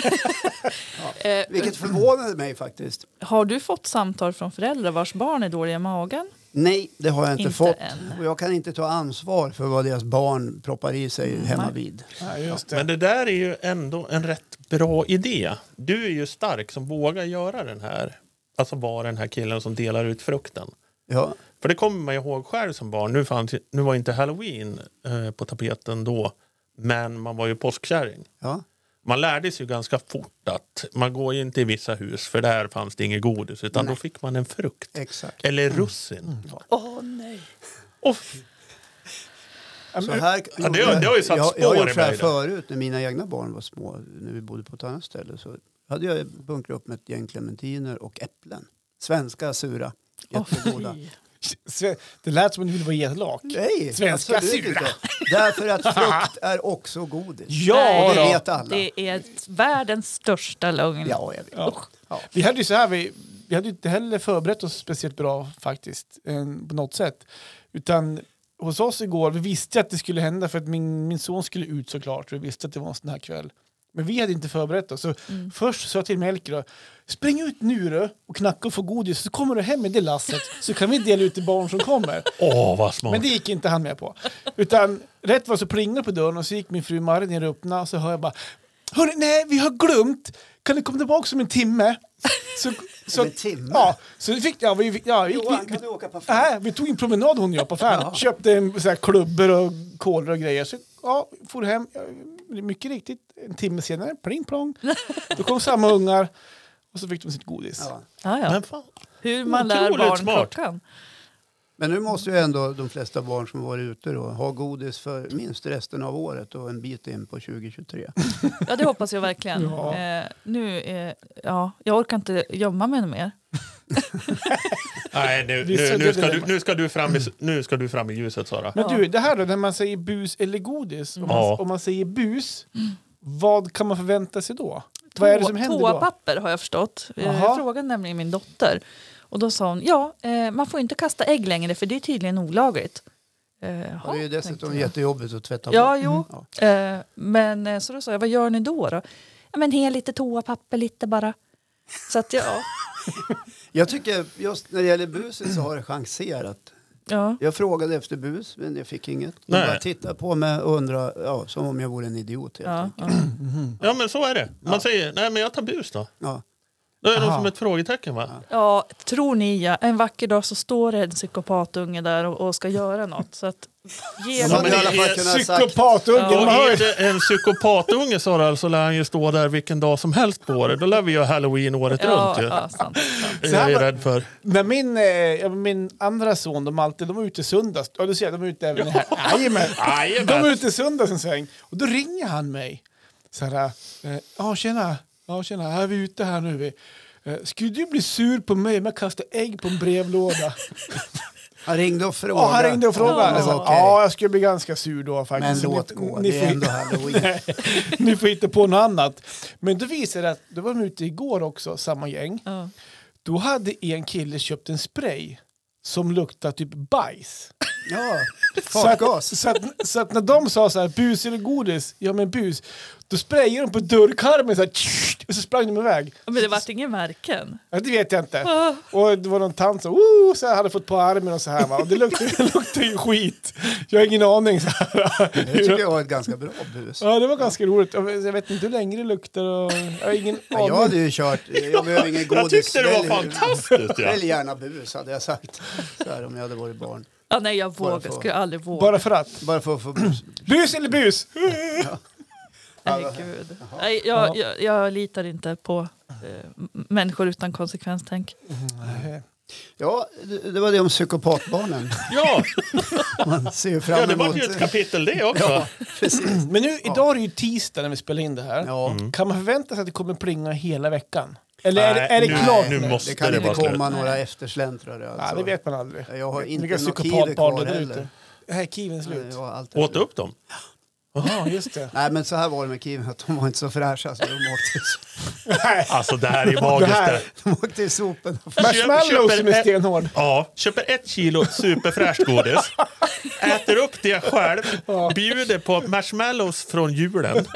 Speaker 3: eh,
Speaker 1: Vilket förvånade mig faktiskt.
Speaker 3: har du fått samtal från föräldrar vars barn är dåliga i magen?
Speaker 1: Nej, det har jag inte,
Speaker 3: Inte
Speaker 1: fått.
Speaker 3: än.
Speaker 1: Och jag kan inte ta ansvar för vad deras barn proppar i sig
Speaker 3: Mm,
Speaker 1: hemma vid.
Speaker 2: Ja, just
Speaker 4: Men
Speaker 2: det.
Speaker 4: det där är ju ändå en rätt bra idé. Du är ju stark som vågar göra den här, alltså vara den här killen som delar ut frukten.
Speaker 1: Ja,
Speaker 4: För det kommer man ju ihåg själv som barn. Nu, fanns, ju- nu var inte halloween eh, på tapeten då, men man var ju påskkärring.
Speaker 1: ja.
Speaker 4: Man lärde sig ju ganska fort att man går ju inte i vissa hus för där fanns det inget godis utan då fick man en frukt.
Speaker 1: Exakt.
Speaker 4: Eller russin.
Speaker 3: Åh nej!
Speaker 4: Och
Speaker 1: Så här,
Speaker 4: Ja, det har- det har ju satt
Speaker 1: jag,
Speaker 4: spår
Speaker 1: jag
Speaker 4: i
Speaker 1: gjorde så här
Speaker 4: mig det.
Speaker 1: förut när mina egna barn var små, när vi bodde på ett annat ställe. Så hade jag bunkrat upp med ett gäng clementiner och äpplen. Svenska sura.
Speaker 3: Åh,
Speaker 1: Jättegoda.
Speaker 3: fy.
Speaker 2: Sve- Det lät som om du ville vara elak.
Speaker 1: Nej,
Speaker 2: Svenska
Speaker 1: absolut
Speaker 2: sura.
Speaker 1: inte. Därför att frukt är också godis.
Speaker 2: Ja,
Speaker 1: Och
Speaker 2: då.
Speaker 1: det vet alla.
Speaker 3: Det är världens största lögn.
Speaker 1: Ja, jag vet.
Speaker 2: Ja.
Speaker 1: Ja.
Speaker 2: Vi hade ju så här, vi, vi hade ju inte heller förberett oss speciellt bra faktiskt, eh, på något sätt. Utan hos oss igår, vi visste att det skulle hända för att min, min son skulle ut såklart. Vi visste att det var en sån här kväll. Men vi hade inte förberett oss. Så Först sa jag till Melker då, spring ut nu då och knacka och få godis så kommer du hem med det lasset så kan vi dela ut till barn som kommer.
Speaker 4: åh, vad smart.
Speaker 2: Men det gick inte han med på. Utan rätt var så plingade det på dörren och så gick min fru Marie ner och öppnade och så hör jag bara Hörni, nej vi har glömt! Kan du komma tillbaka om en timme? Så,
Speaker 1: Om en timme?
Speaker 2: Ja, så vi fick, ja, vi, fick- ja, vi,
Speaker 1: Johan,
Speaker 2: vi,
Speaker 1: kan du åka på affär?
Speaker 2: nej, vi tog en promenad hon och jag på affären. Köpte en, så här, klubbor och kolor och grejer. Så, ja, for hem. Ja, Mycket riktigt, en timme senare, pling plong. Då kom samma ungar och så fick de sitt godis.
Speaker 1: Ja.
Speaker 3: Ja, ja.
Speaker 4: Men fan,
Speaker 3: Hur man lär
Speaker 4: Otroligt
Speaker 3: barn
Speaker 4: smart.
Speaker 3: klockan.
Speaker 1: Men nu måste ju ändå de flesta barn som varit ute då, ha godis för minst resten av året och en bit in på 2023.
Speaker 3: Ja, det hoppas jag verkligen.
Speaker 2: Ja.
Speaker 3: Eh, nu, eh, ja, jag orkar inte gömma mig mer.
Speaker 4: nej, nu,
Speaker 2: Vi
Speaker 4: nu,
Speaker 2: suddiga
Speaker 4: nu, ska du,
Speaker 2: dilemma.
Speaker 4: nu, ska du fram i, nu ska du fram i ljuset, Sara.
Speaker 2: Men du, det här då, när man säger bus eller godis. Om,
Speaker 4: Ja.
Speaker 2: man, om man säger bus, vad kan man förvänta sig då? vad är det som
Speaker 3: Toa-
Speaker 2: händer då?
Speaker 3: Toapapper har jag förstått. Eh,
Speaker 2: Jaha.
Speaker 3: Jag frågade nämligen min dotter. Och då sa hon, ja, eh, man får inte kasta ägg längre för det är tydligen olagligt. Eh,
Speaker 1: Och
Speaker 3: jaha,
Speaker 1: det är ju
Speaker 3: tänkte
Speaker 1: dessutom
Speaker 3: jag.
Speaker 1: jättejobbigt att tvätta
Speaker 3: Ja,
Speaker 1: bort.
Speaker 3: jo.
Speaker 1: Ja.
Speaker 3: Eh, men eh, så då sa jag, vad gör ni då? då? Ja, men hel lite toapapper, lite bara. Så att ja,
Speaker 1: Jag tycker just när det gäller buset så har det chanserat.
Speaker 3: ja.
Speaker 1: Jag frågade efter bus, men jag fick inget. De
Speaker 4: Nej.
Speaker 1: bara tittade på mig och undrade, ja, som om jag vore en idiot. helt
Speaker 3: ja,
Speaker 1: enkelt.
Speaker 3: ja.
Speaker 4: Ja, men så är det. Man säger, nej men jag tar bus då.
Speaker 1: Ja.
Speaker 4: Då är de
Speaker 2: Aha.
Speaker 4: som ett frågetecken va?
Speaker 3: Ja, tror ni ja. En vacker dag så står det en psykopatunge där och, och ska göra något. Så att ge
Speaker 1: Ja,
Speaker 4: men
Speaker 3: dem-
Speaker 1: men i
Speaker 4: det
Speaker 1: alla fall
Speaker 4: är
Speaker 1: kunnat sagt,
Speaker 2: Psykopatunge,
Speaker 3: Ja.
Speaker 2: man
Speaker 4: Och
Speaker 2: hör ju
Speaker 4: är det en psykopatunge Sara, så lär han ju stå där vilken dag som helst på året. Då lär vi göra halloween året
Speaker 3: ja,
Speaker 4: runt ju.
Speaker 3: ja, sant. sant.
Speaker 4: Det är jag ju rädd för.
Speaker 2: När min, eh, ja, min andra son, de alltid, de var ute i söndags. Ja, du ser, jag, de är ute även här. Jajamän.
Speaker 4: Jajamän.
Speaker 2: De var ute i söndags en sväng. Och då ringer han mig. Så här, eh, ja tjena, ja tjena, här är vi ute här nu. Vi. Eh, Skulle du bli sur på mig om jag kastar ägg på en brevlåda?
Speaker 1: Han ringde och frågade.
Speaker 2: Ja, han ringde och
Speaker 1: Ja,
Speaker 2: frågade.
Speaker 1: det
Speaker 2: Ja,
Speaker 1: var okej.
Speaker 2: ja, jag skulle bli ganska sur då faktiskt.
Speaker 1: Men
Speaker 2: Så
Speaker 1: låt
Speaker 2: ni-
Speaker 1: gå,
Speaker 2: Ni
Speaker 1: det är ändå
Speaker 2: får,
Speaker 1: halloween.
Speaker 2: ni får hitta på något annat. Men då visade det att, då var de ute igår också, samma gäng.
Speaker 3: Ja.
Speaker 2: Då hade en kille köpt en spray som luktar typ bajs.
Speaker 1: Ja,
Speaker 2: Så att,
Speaker 1: fartgas.
Speaker 2: så, att, så att när de sa så här, bus eller godis? Ja men bus. Då sprayade de på dörrkarmen så här, tsch, och så sprang de iväg.
Speaker 3: Men det vart inga märken.
Speaker 2: Ja, det vet jag inte.
Speaker 4: Ah.
Speaker 2: Och det var någon tant som "Woo", så här, hade fått på armen och så här. Va? Och det luktade, det luktade ju skit. Jag har ingen aning. Så här.
Speaker 1: Det tycker jag var ett ganska bra bus.
Speaker 2: Ja, det var ganska roligt. Jag vet- Jag vet inte hur länge det luktar och jag har ingen
Speaker 1: Ja,
Speaker 2: aning.
Speaker 1: jag hade ju kört, jag behöver ingen godis.
Speaker 4: Jag tyckte det var
Speaker 1: Välj-
Speaker 4: fantastiskt. Ja.
Speaker 1: Välj gärna bus hade jag sagt. Så här, om jag hade varit barn.
Speaker 3: Ja, nej, jag
Speaker 1: Bara
Speaker 3: vågar.
Speaker 1: för-
Speaker 3: Skulle jag aldrig våga.
Speaker 2: Bara för att.
Speaker 1: Bara för att få bus.
Speaker 2: Bus eller bus?
Speaker 3: Nej, gud. Nej, jag, jag, jag litar inte på eh, m- människor utan konsekvenstänk.
Speaker 1: Ja, det det var det om psykopatbarnen.
Speaker 4: Ja,
Speaker 1: Man ser ju fram
Speaker 4: ja
Speaker 1: emot...
Speaker 4: det var ju ett kapitel det också.
Speaker 1: Precis.
Speaker 2: Men nu, idag är det ju tisdag när vi spelar in det här.
Speaker 1: Ja.
Speaker 4: Mm.
Speaker 2: Kan man förvänta sig att det kommer plinga hela veckan? Eller är, det-
Speaker 4: Nej,
Speaker 2: är det
Speaker 4: nu-
Speaker 2: klart
Speaker 4: nu måste-
Speaker 1: Det kan
Speaker 4: det
Speaker 1: inte
Speaker 4: vara slut.
Speaker 1: komma några eftersläntrare. Alltså.
Speaker 2: Nej, det vet man aldrig.
Speaker 1: Jag har inte
Speaker 2: Vilka
Speaker 1: något
Speaker 2: psykopatbarn
Speaker 1: kiwi kvar
Speaker 2: det där
Speaker 1: heller.
Speaker 2: ute. Här är kiven slut.
Speaker 1: Jag har allt
Speaker 4: Åt upp dem.
Speaker 2: Jaha, just det.
Speaker 1: Nej, men så här var det med Kim, att de var inte så fräscha så de åkte,
Speaker 2: Nej.
Speaker 4: Alltså det här är magiskt.
Speaker 2: Det här-
Speaker 4: det.
Speaker 1: de åkte i sopen.
Speaker 2: Marshmallows
Speaker 4: köper
Speaker 2: som är
Speaker 4: ett-
Speaker 2: stenhård.
Speaker 4: Ja, köper ett kilo superfräscht godis, äter upp det själv, bjuder på marshmallows från julen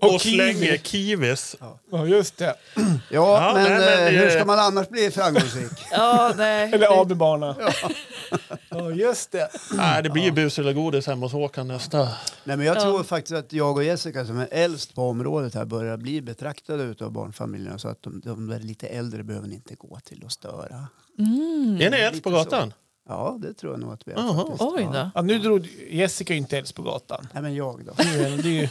Speaker 4: och,
Speaker 2: kiwi.
Speaker 4: slänger kiwis.
Speaker 2: Ja, just det.
Speaker 1: Ja,
Speaker 4: Ja,
Speaker 1: men,
Speaker 4: nej, men
Speaker 1: eh,
Speaker 4: det-
Speaker 1: hur ska man annars bli framgångsrik?
Speaker 3: Ja, nej.
Speaker 2: Eller AB-bana. Ja, just det.
Speaker 4: Nej, det blir ju bus eller godis hemma hos Håkan nästa.
Speaker 2: Mm,
Speaker 1: nej, men jag
Speaker 3: Ja.
Speaker 1: tror faktiskt att jag och Jessica som är äldst på området här börjar bli betraktade utav barnfamiljerna så att de, de där lite äldre behöver ni inte gå till och störa.
Speaker 4: Är ni äldst på
Speaker 1: lite
Speaker 4: gatan?
Speaker 1: Ja, det tror jag nog att vi är
Speaker 4: Jaha.
Speaker 1: faktiskt.
Speaker 3: Oj
Speaker 1: Ja.
Speaker 3: då.
Speaker 2: Ja, nu drog Jessica ju inte ens på gatan.
Speaker 1: Nej, men jag då?
Speaker 2: Det är ju- det är ju,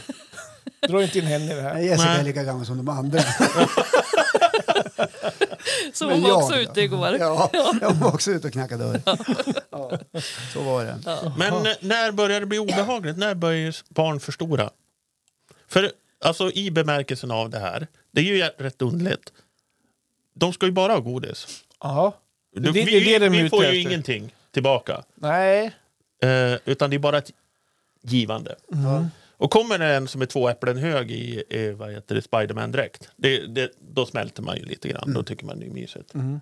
Speaker 2: dra inte in henne i det här.
Speaker 1: Nej, Jessica
Speaker 4: Nej.
Speaker 1: är lika gammal som de andra.
Speaker 3: Så
Speaker 1: Men
Speaker 3: hon var
Speaker 1: jag
Speaker 3: också
Speaker 1: då?
Speaker 3: ute igår.
Speaker 1: Ja, jag var också ute och knackade dörr. Ja, så var det.
Speaker 4: Men eh, när börjar det bli obehagligt? När börjar barn förstora? För alltså i bemärkelsen av det här, det är ju jä- rätt underligt. De ska ju bara ha godis.
Speaker 2: Jaha.
Speaker 4: Du,
Speaker 2: Det- det
Speaker 4: vi
Speaker 2: är det de är
Speaker 4: vi
Speaker 2: ute
Speaker 4: får ju
Speaker 2: efter.
Speaker 4: ingenting tillbaka.
Speaker 2: Nej.
Speaker 4: Eh, utan det är bara ett givande. Och kommer det en som är två äpplen hög i, i vad heter det, Spiderman-dräkt, det, det, då smälter man ju lite grann. Då tycker man det är mysigt.
Speaker 1: Om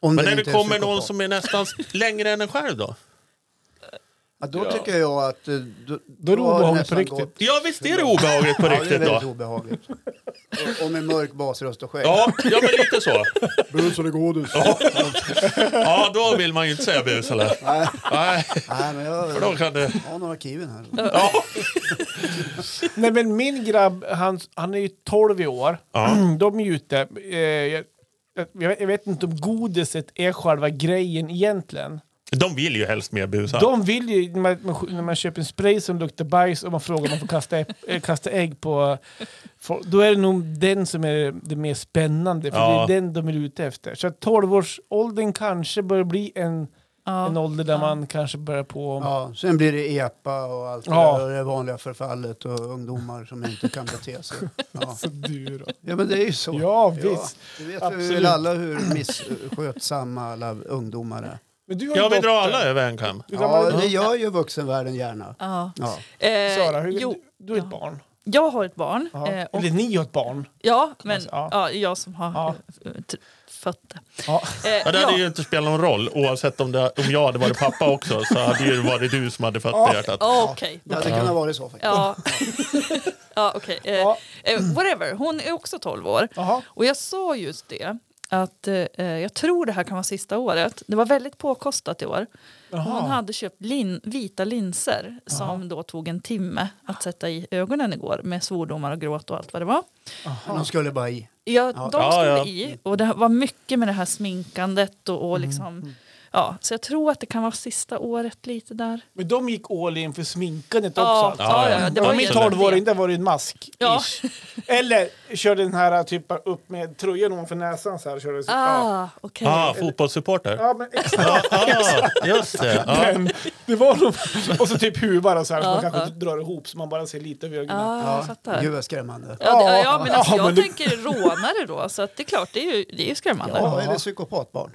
Speaker 4: Men när
Speaker 1: inte
Speaker 4: det
Speaker 1: är
Speaker 4: kommer någon
Speaker 1: psykopat.
Speaker 4: som är nästan s- längre än en själv då?
Speaker 1: Ja, då tycker jag att... eh, Då,
Speaker 2: Då är det
Speaker 1: har
Speaker 2: obehagligt på
Speaker 1: nästan
Speaker 2: riktigt.
Speaker 1: gått-
Speaker 4: Ja, visst är det obehagligt på
Speaker 1: Ja, det är
Speaker 4: riktigt
Speaker 1: väldigt
Speaker 4: då?
Speaker 1: obehagligt. Och- Och med mörk basröst och skägg.
Speaker 4: Ja, ja, men lite så.
Speaker 1: Bus eller godis?
Speaker 4: Ja, då vill man ju inte säga bus eller?
Speaker 1: Nej,
Speaker 4: Nej,
Speaker 1: nej, men
Speaker 4: för då
Speaker 1: jag
Speaker 4: kan det...
Speaker 1: har några kiwin här.
Speaker 4: Ja.
Speaker 2: Nej, men min grabb, han, han är ju 12 i år.
Speaker 4: Ja.
Speaker 2: De är ju ute. Eh, jag, jag, vet- jag vet inte om godiset är själva grejen egentligen.
Speaker 4: De vill ju helst mer busa.
Speaker 2: De vill ju, när man, när man köper en spray som luktar bajs och man frågar om man får kasta, äpp, eh, kasta ägg på... folk, Då är det nog den som är det mer spännande, för
Speaker 4: Ja.
Speaker 2: det är den de är ute efter. Så att 12-årsåldern kanske börjar bli en, en
Speaker 3: Ja.
Speaker 2: ålder där man kanske börjar på...
Speaker 1: Ja, sen blir det epa och allt det
Speaker 2: Ja.
Speaker 1: där och det vanliga förfallet och ungdomar som inte kan bete sig. Ja,
Speaker 2: Så du då.
Speaker 1: ja men det är ju så.
Speaker 2: Ja, visst.
Speaker 1: det vet vi
Speaker 2: Absolut.
Speaker 1: väl alla hur misskötsamma alla ungdomar är.
Speaker 2: Men du har
Speaker 4: Ja,
Speaker 2: en
Speaker 4: vi
Speaker 2: dotter.
Speaker 4: drar alla över en kam.
Speaker 2: Du har
Speaker 1: Ja,
Speaker 2: en
Speaker 1: det gör ju vuxenvärlden gärna.
Speaker 3: Ja.
Speaker 1: Ja.
Speaker 3: Eh,
Speaker 2: Sara, hur,
Speaker 3: jo,
Speaker 2: du, du är ett barn.
Speaker 3: jag har ett barn.
Speaker 2: Ja.
Speaker 3: eh, och,
Speaker 2: Eller ni har ett barn.
Speaker 3: ja, men
Speaker 2: säga, ja.
Speaker 3: ja. jag som har
Speaker 2: Ja.
Speaker 3: eh, t- fött det.
Speaker 2: Ja.
Speaker 3: Eh,
Speaker 4: Ja, det hade
Speaker 3: ja.
Speaker 4: ju inte spelat någon roll. Oavsett om, det, om jag hade varit pappa också så hade ju varit du som hade fött på hjärtat.
Speaker 3: Ja, Okej.
Speaker 1: Det hade kunnat vara så faktiskt.
Speaker 3: Ja, ja okej. Eh,
Speaker 2: Ja.
Speaker 3: eh, whatever, hon är också 12 år.
Speaker 2: Jaha.
Speaker 3: Och jag sa just det, att eh, jag tror det här kan vara sista året. Det var väldigt påkostat i år.
Speaker 2: Jaha.
Speaker 3: Hon hade köpt lin, vita linser som då tog en timme att sätta i ögonen igår med svordomar och gråt och allt vad det var.
Speaker 1: Men De skulle bara i.
Speaker 3: Ja,
Speaker 1: Ja.
Speaker 3: de
Speaker 4: Ja,
Speaker 3: skulle
Speaker 4: ja.
Speaker 3: i och det var mycket med det här sminkandet och, och liksom Ja, så jag tror att det kan vara sista året lite där.
Speaker 2: Men de gick all in för sminkandet
Speaker 3: Ja,
Speaker 2: också. alltså.
Speaker 3: ja,
Speaker 4: Ja, ja.
Speaker 3: ja,
Speaker 2: Det
Speaker 3: det
Speaker 2: var
Speaker 3: var
Speaker 2: min
Speaker 3: ju-
Speaker 2: 12-åring, där var det en mask.
Speaker 3: Ja.
Speaker 2: ish. Eller körde den här typ upp med tröjan ovanför näsan så här. Körde så, ja.
Speaker 3: Ah, okej.
Speaker 4: Ah, fotbollssupporter?
Speaker 2: ja, men exakt.
Speaker 4: Ah, just det. Ja.
Speaker 2: den. Det var nog... Och så typ huvar och så här som
Speaker 3: Ja,
Speaker 2: man kanske
Speaker 3: ja.
Speaker 2: inte drar ihop så man bara ser lite över ögonen.
Speaker 3: Ah, jag fattar.
Speaker 1: Gud vad skrämmande.
Speaker 3: Ja, det,
Speaker 2: Ja.
Speaker 3: ja, men alltså,
Speaker 2: Ja,
Speaker 3: jag
Speaker 2: men du-
Speaker 3: tänker rånare då, så att det är klart, det är ju, det är ju skrämmande. Ja.
Speaker 1: Ja, eller psykopatbarn.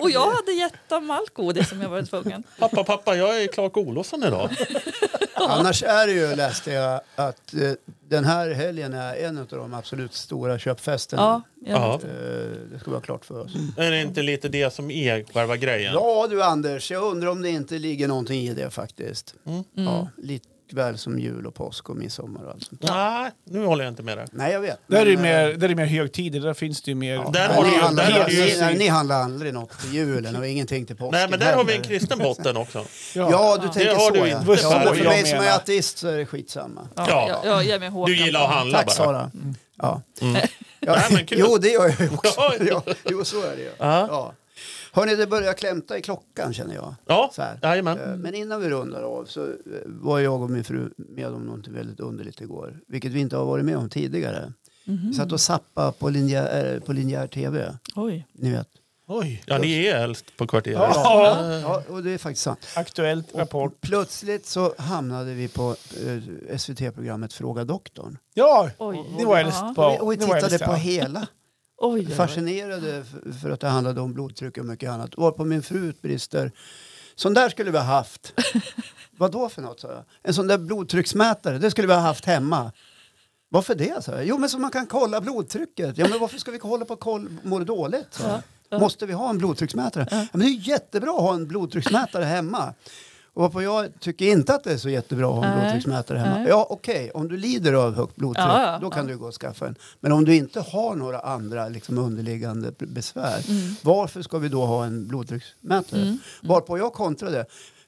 Speaker 3: och jag hade gett dem allt godis som jag var tvungen.
Speaker 4: Pappa, pappa, jag är Clark Olofsson idag.
Speaker 1: Annars är det ju, läste jag, att eh, den här helgen är en av de absolut stora köpfesterna.
Speaker 3: Ja,
Speaker 4: Ja.
Speaker 3: jag,
Speaker 1: Eh, det ska vara klart för oss.
Speaker 4: Är det inte lite det som är själva grejen?
Speaker 1: Ja du Anders, jag undrar om det inte ligger någonting i det faktiskt.
Speaker 3: Mm.
Speaker 1: Ja, likväl som jul och påsk och midsommar och allt sånt.
Speaker 4: Nej, nu håller jag inte med dig.
Speaker 1: Nej jag vet.
Speaker 2: Där är det ju
Speaker 1: Men,
Speaker 2: mer,
Speaker 1: eh,
Speaker 2: där är det mer högtider, där finns det ju mer...
Speaker 4: Där
Speaker 1: men
Speaker 4: har
Speaker 1: ni,
Speaker 4: du ju-
Speaker 1: handlar,
Speaker 4: där har du ju-
Speaker 1: ni, nej, ni handlar aldrig något till julen och ingenting till påsken
Speaker 4: Nej, men där har vi en
Speaker 1: heller.
Speaker 4: kristen botten också.
Speaker 2: Ja.
Speaker 1: Ja, du tänker
Speaker 4: har
Speaker 1: så
Speaker 4: du
Speaker 1: ja.
Speaker 4: inte,
Speaker 1: ja men
Speaker 2: vad
Speaker 1: för
Speaker 2: jag
Speaker 1: mig som är
Speaker 2: menar.
Speaker 1: ateist så är det skitsamma.
Speaker 3: ja,
Speaker 4: Ja.
Speaker 3: jag, jag ger mig Håkan.
Speaker 4: Du gillar att handla
Speaker 1: Tack
Speaker 4: bara. Mm.
Speaker 1: Sara. Ja. Mm. Ja,
Speaker 4: Nej, men kul.
Speaker 1: Jo, det gör jag ju också.
Speaker 4: Ja, ja.
Speaker 1: ja. Jo, så är det ju.
Speaker 4: Ja.
Speaker 1: Ja. Hörni, det börjar klämta i klockan känner jag.
Speaker 4: Ja,
Speaker 1: Så här.
Speaker 4: jajamän.
Speaker 1: Eh, Men innan vi rundar av så eh, var jag och min fru med om något väldigt underligt igår. Vilket vi inte har varit med om tidigare. Vi satt och zappade på linjär, eh, på linjär tv.
Speaker 3: Oj.
Speaker 1: Ni vet.
Speaker 2: Oj.
Speaker 4: Ja, ni är äldst på kvarteret.
Speaker 2: Ja.
Speaker 1: Ja, och det är faktiskt sant.
Speaker 2: Aktuellt rapport.
Speaker 1: Och plötsligt så hamnade vi på eh, SVT-programmet Fråga doktorn.
Speaker 2: Ja,
Speaker 3: Oj.
Speaker 2: ni var äldst
Speaker 3: Ja.
Speaker 2: på...
Speaker 1: och vi
Speaker 2: ni var
Speaker 1: tittade
Speaker 2: äldst, ja.
Speaker 1: på hela.
Speaker 3: Oj, oj, oj.
Speaker 1: Fascinerade f- för att det handlade om blodtryck och mycket annat. Var på min fru utbrister. Sån där skulle vi ha haft. Vad då för något? sa jag. En sån där blodtrycksmätare, det skulle vi ha haft hemma. Varför det? sa jag. Jo men så man kan kolla blodtrycket. Ja men varför ska vi hålla på och koll, mår du dåligt? sa jag. Måste vi ha en blodtrycksmätare? Ja, men det är ju jättebra att ha en blodtrycksmätare hemma. Och varpå jag tycker inte att det är så jättebra att ha en
Speaker 3: Nej.
Speaker 1: blodtrycksmätare hemma.
Speaker 3: Nej.
Speaker 1: Ja okej, om du lider av högt blodtryck
Speaker 3: Ja, ja,
Speaker 1: då kan du gå och skaffa en. Men om du inte har några andra liksom, underliggande b- besvär,
Speaker 3: Mm.
Speaker 1: varför ska vi då ha en blodtrycksmätare? Varpå jag kontrade.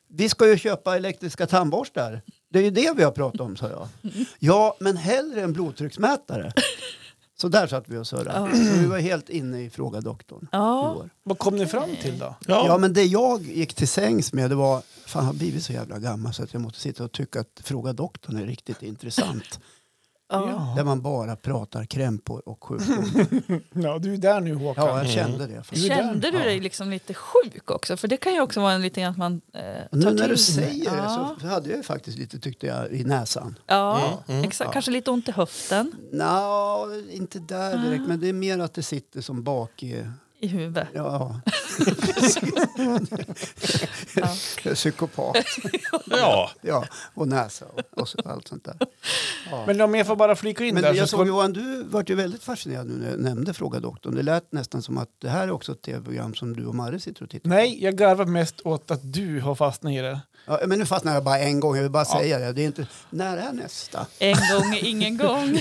Speaker 1: Vi ska ju köpa elektriska tandborstar. Det är ju det vi har pratat om, sa jag.
Speaker 3: Mm.
Speaker 1: Ja, men hellre en blodtrycksmätare. Så där satt vi och surrade. Så Vi var helt inne i Fråga doktorn
Speaker 3: Ja.
Speaker 1: i år.
Speaker 2: Vad kom ni fram till då?
Speaker 1: Ja.
Speaker 4: Ja.
Speaker 1: men det jag gick till sängs med det var, fan jag har blivit så jävla gammal så att jag måste sitta och tycka att Fråga doktorn är riktigt intressant.
Speaker 3: Ja.
Speaker 1: Där man bara pratar krämpor och sjukdom.
Speaker 2: Ja, du är där nu Håkan.
Speaker 1: Ja, jag kände det. faktiskt.
Speaker 3: Kände du
Speaker 1: Ja.
Speaker 3: dig liksom lite sjuk också? För det kan ju också vara en liten grej att man eh, tar
Speaker 1: Nu när
Speaker 3: till
Speaker 1: du
Speaker 3: sig.
Speaker 1: säger det
Speaker 3: ja.
Speaker 1: så hade jag ju faktiskt lite, tyckte jag, i näsan.
Speaker 3: Ja, exakt. Kanske lite ont i höften,
Speaker 1: Nå, inte där direkt,
Speaker 2: Ah.
Speaker 1: men det är mer att det sitter som bak i...
Speaker 3: i huvudet.
Speaker 1: Ja. Psykopat.
Speaker 4: ja.
Speaker 1: Ja, och näsa och, och så, allt sånt där.
Speaker 2: Men om jag får bara flika in där
Speaker 1: Men
Speaker 2: så
Speaker 1: jag
Speaker 2: ska
Speaker 1: såg Johan, du vart ju väldigt fascinerad nu när jag nämnde Fråga doktorn. Det lät nästan som att det här är också ett tv-program som du och Marre sitter och tittar på.
Speaker 2: Nej, jag garvar mest åt att du har fastnat i det.
Speaker 1: Ja, men nu fastnade jag bara en gång, jag vill bara säga det. det är inte... När är nästa?
Speaker 3: En gång är ingen gång.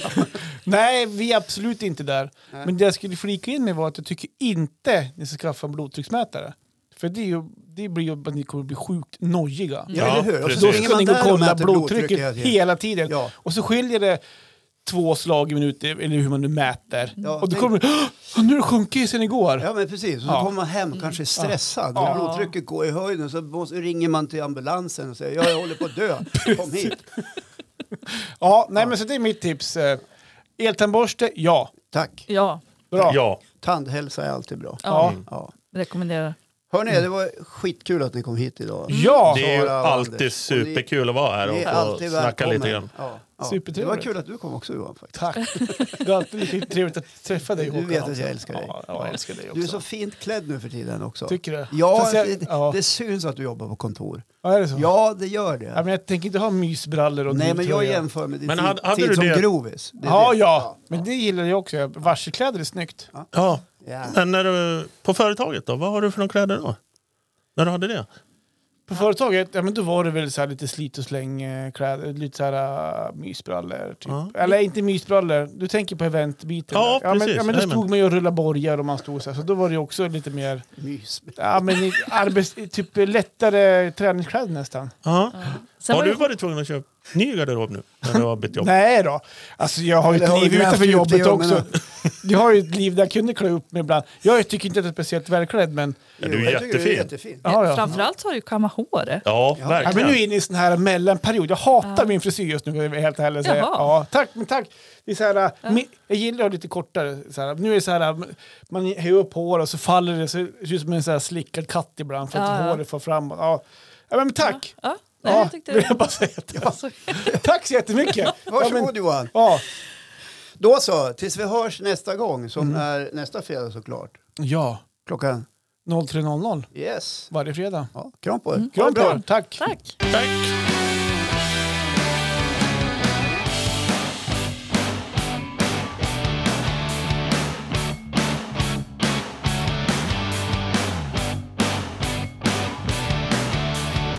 Speaker 2: Nej, vi är absolut inte där. Men det jag skulle flika in med var att jag tycker inte ni ska skaffa en blodtrycksmätare. För det, är ju, det blir ju att ni kommer bli sjukt nojiga.
Speaker 1: Ja,
Speaker 4: Ja,
Speaker 1: eller hur? Och så
Speaker 4: precis.
Speaker 2: Då
Speaker 1: springer
Speaker 2: ska
Speaker 1: man
Speaker 2: ni gå och
Speaker 1: där
Speaker 2: kolla
Speaker 1: mäter
Speaker 2: blodtrycket
Speaker 1: hela tiden.
Speaker 2: hela tiden.
Speaker 1: Ja.
Speaker 2: Och så skiljer det två slag i minuten, eller hur man nu mäter.
Speaker 1: Ja,
Speaker 2: och då
Speaker 1: tänk-
Speaker 2: kommer du, "Åh, nu har det sjunkit sen igår.
Speaker 1: Ja men precis, och så
Speaker 2: Ja.
Speaker 1: kommer man hem kanske stressad.
Speaker 2: Ja.
Speaker 1: Blodtrycket går i höjden så måste, ringer man till ambulansen och säger ja, jag håller på att dö, kom hit.
Speaker 2: Ja, nej men så det är mitt tips. Eh, Eltandborste, ja.
Speaker 1: Tack.
Speaker 3: Ja,
Speaker 2: Bra.
Speaker 4: ja. Mm.
Speaker 1: Tandhälsa är alltid bra.
Speaker 2: Ja.
Speaker 1: Ja.
Speaker 3: rekommenderar.
Speaker 1: Hörni, det var skitkul att ni kom hit idag.
Speaker 2: Ja.
Speaker 4: Det är ju
Speaker 1: Sara och
Speaker 4: alltid
Speaker 1: Anders.
Speaker 4: superkul att vara
Speaker 1: Ni är
Speaker 4: här och få
Speaker 1: alltid
Speaker 4: snacka lite
Speaker 1: välkommen.
Speaker 4: grann.
Speaker 1: Ja, ja. Det
Speaker 2: Supertrevligt.
Speaker 1: var kul att du kom också Johan. Faktiskt.
Speaker 2: Tack. Det är alltid lika trevligt att träffa dig
Speaker 1: Du
Speaker 2: Håkan
Speaker 1: vet att
Speaker 2: också.
Speaker 1: jag älskar dig.
Speaker 2: Ja, jag älskar dig också.
Speaker 1: Du är så fint klädd nu för tiden också.
Speaker 2: Tycker du?
Speaker 1: Ja,
Speaker 2: Fast jag-
Speaker 1: det,
Speaker 2: ja.
Speaker 1: det syns att du jobbar på kontor.
Speaker 2: Ja, är det så?
Speaker 1: Ja, det gör
Speaker 2: Ja,
Speaker 1: det.
Speaker 2: men jag tänker inte ha mysbrallor och
Speaker 1: Nej, men jag
Speaker 2: dilltröja.
Speaker 1: jämför med din
Speaker 4: Men
Speaker 1: tid,
Speaker 4: hade- hade
Speaker 1: tid
Speaker 4: du
Speaker 1: som
Speaker 4: det?
Speaker 1: grovis. Det är
Speaker 2: Ja,
Speaker 1: det.
Speaker 2: ja, men det gillar jag också. Varselkläder är snyggt.
Speaker 4: Ja.
Speaker 1: Ja.
Speaker 4: Men när du, på företaget då, vad har du för några kläder då? När du hade det?
Speaker 2: På företaget, ja men då var det väl så här lite slit och släng eh, kläder, lite så här uh, mysbrallor typ.
Speaker 4: Ja.
Speaker 2: Eller inte mysbrallor, du tänker på eventbiten.
Speaker 4: Ja,
Speaker 2: där. ja, men,
Speaker 4: precis.
Speaker 2: ja men då
Speaker 4: Jajamän.
Speaker 2: stod man ju och rullade borgar och man stod så här, så då var det ju också lite mer,
Speaker 1: Mys.
Speaker 2: ja men i- arbets, typ lättare träningskläder nästan.
Speaker 4: Ja.
Speaker 3: Sen
Speaker 4: har
Speaker 3: var
Speaker 4: du
Speaker 3: det,
Speaker 4: varit tvungen att köpa ny garderob nu? När du har bytt jobb?
Speaker 2: Nej då. Alltså jag har ju
Speaker 1: Eller
Speaker 2: ett
Speaker 1: har
Speaker 2: liv
Speaker 1: du haft
Speaker 2: utanför
Speaker 1: djupt i
Speaker 2: jobbet också.
Speaker 1: ögonen?
Speaker 2: Jag har ju ett liv där jag kunde klä upp mig ibland. Jag tycker inte att jag är speciellt välklädd men...
Speaker 4: Ja, du är
Speaker 1: Jag tycker du är
Speaker 4: jättefin.
Speaker 1: jättefin.
Speaker 2: Ja, ja.
Speaker 3: Framförallt så har du kammat håret.
Speaker 1: Ja.
Speaker 4: Ja,
Speaker 2: Ja, men
Speaker 4: verkligen.
Speaker 2: nu är jag inne i sån här mellanperiod. Jag hatar
Speaker 3: Ja.
Speaker 2: min frisyr just nu, om jag är helt ärlig. säga.
Speaker 3: Jaha.
Speaker 2: Ja, tack, men tack. Det är så här, mi- Jag gillar att ha lite kortare. Så här. Nu är det så här, man höjer upp hår och så faller det. Så det ser ut som en så här slickad katt ibland för att
Speaker 3: Ja, ja.
Speaker 2: håret får framåt. Ja. Ja, men tack!
Speaker 3: Ja,
Speaker 2: Ja,
Speaker 3: nej, jag tyckte
Speaker 2: vill
Speaker 3: det
Speaker 2: jag bara säga.
Speaker 3: var så...
Speaker 2: Tack så jättemycket! Ja,
Speaker 1: Varsågod
Speaker 2: men,
Speaker 1: Johan.
Speaker 2: ja.
Speaker 1: Då så, tills vi hörs nästa gång som
Speaker 4: Mm.
Speaker 1: är nästa fredag såklart.
Speaker 2: ja,
Speaker 1: Klockan,
Speaker 2: 03.00
Speaker 1: yes.
Speaker 2: varje fredag.
Speaker 1: Ja, kram på er. Ha det
Speaker 4: Mm.
Speaker 2: Kram på
Speaker 1: bra.
Speaker 2: er, tack!
Speaker 3: Tack!
Speaker 4: Tack!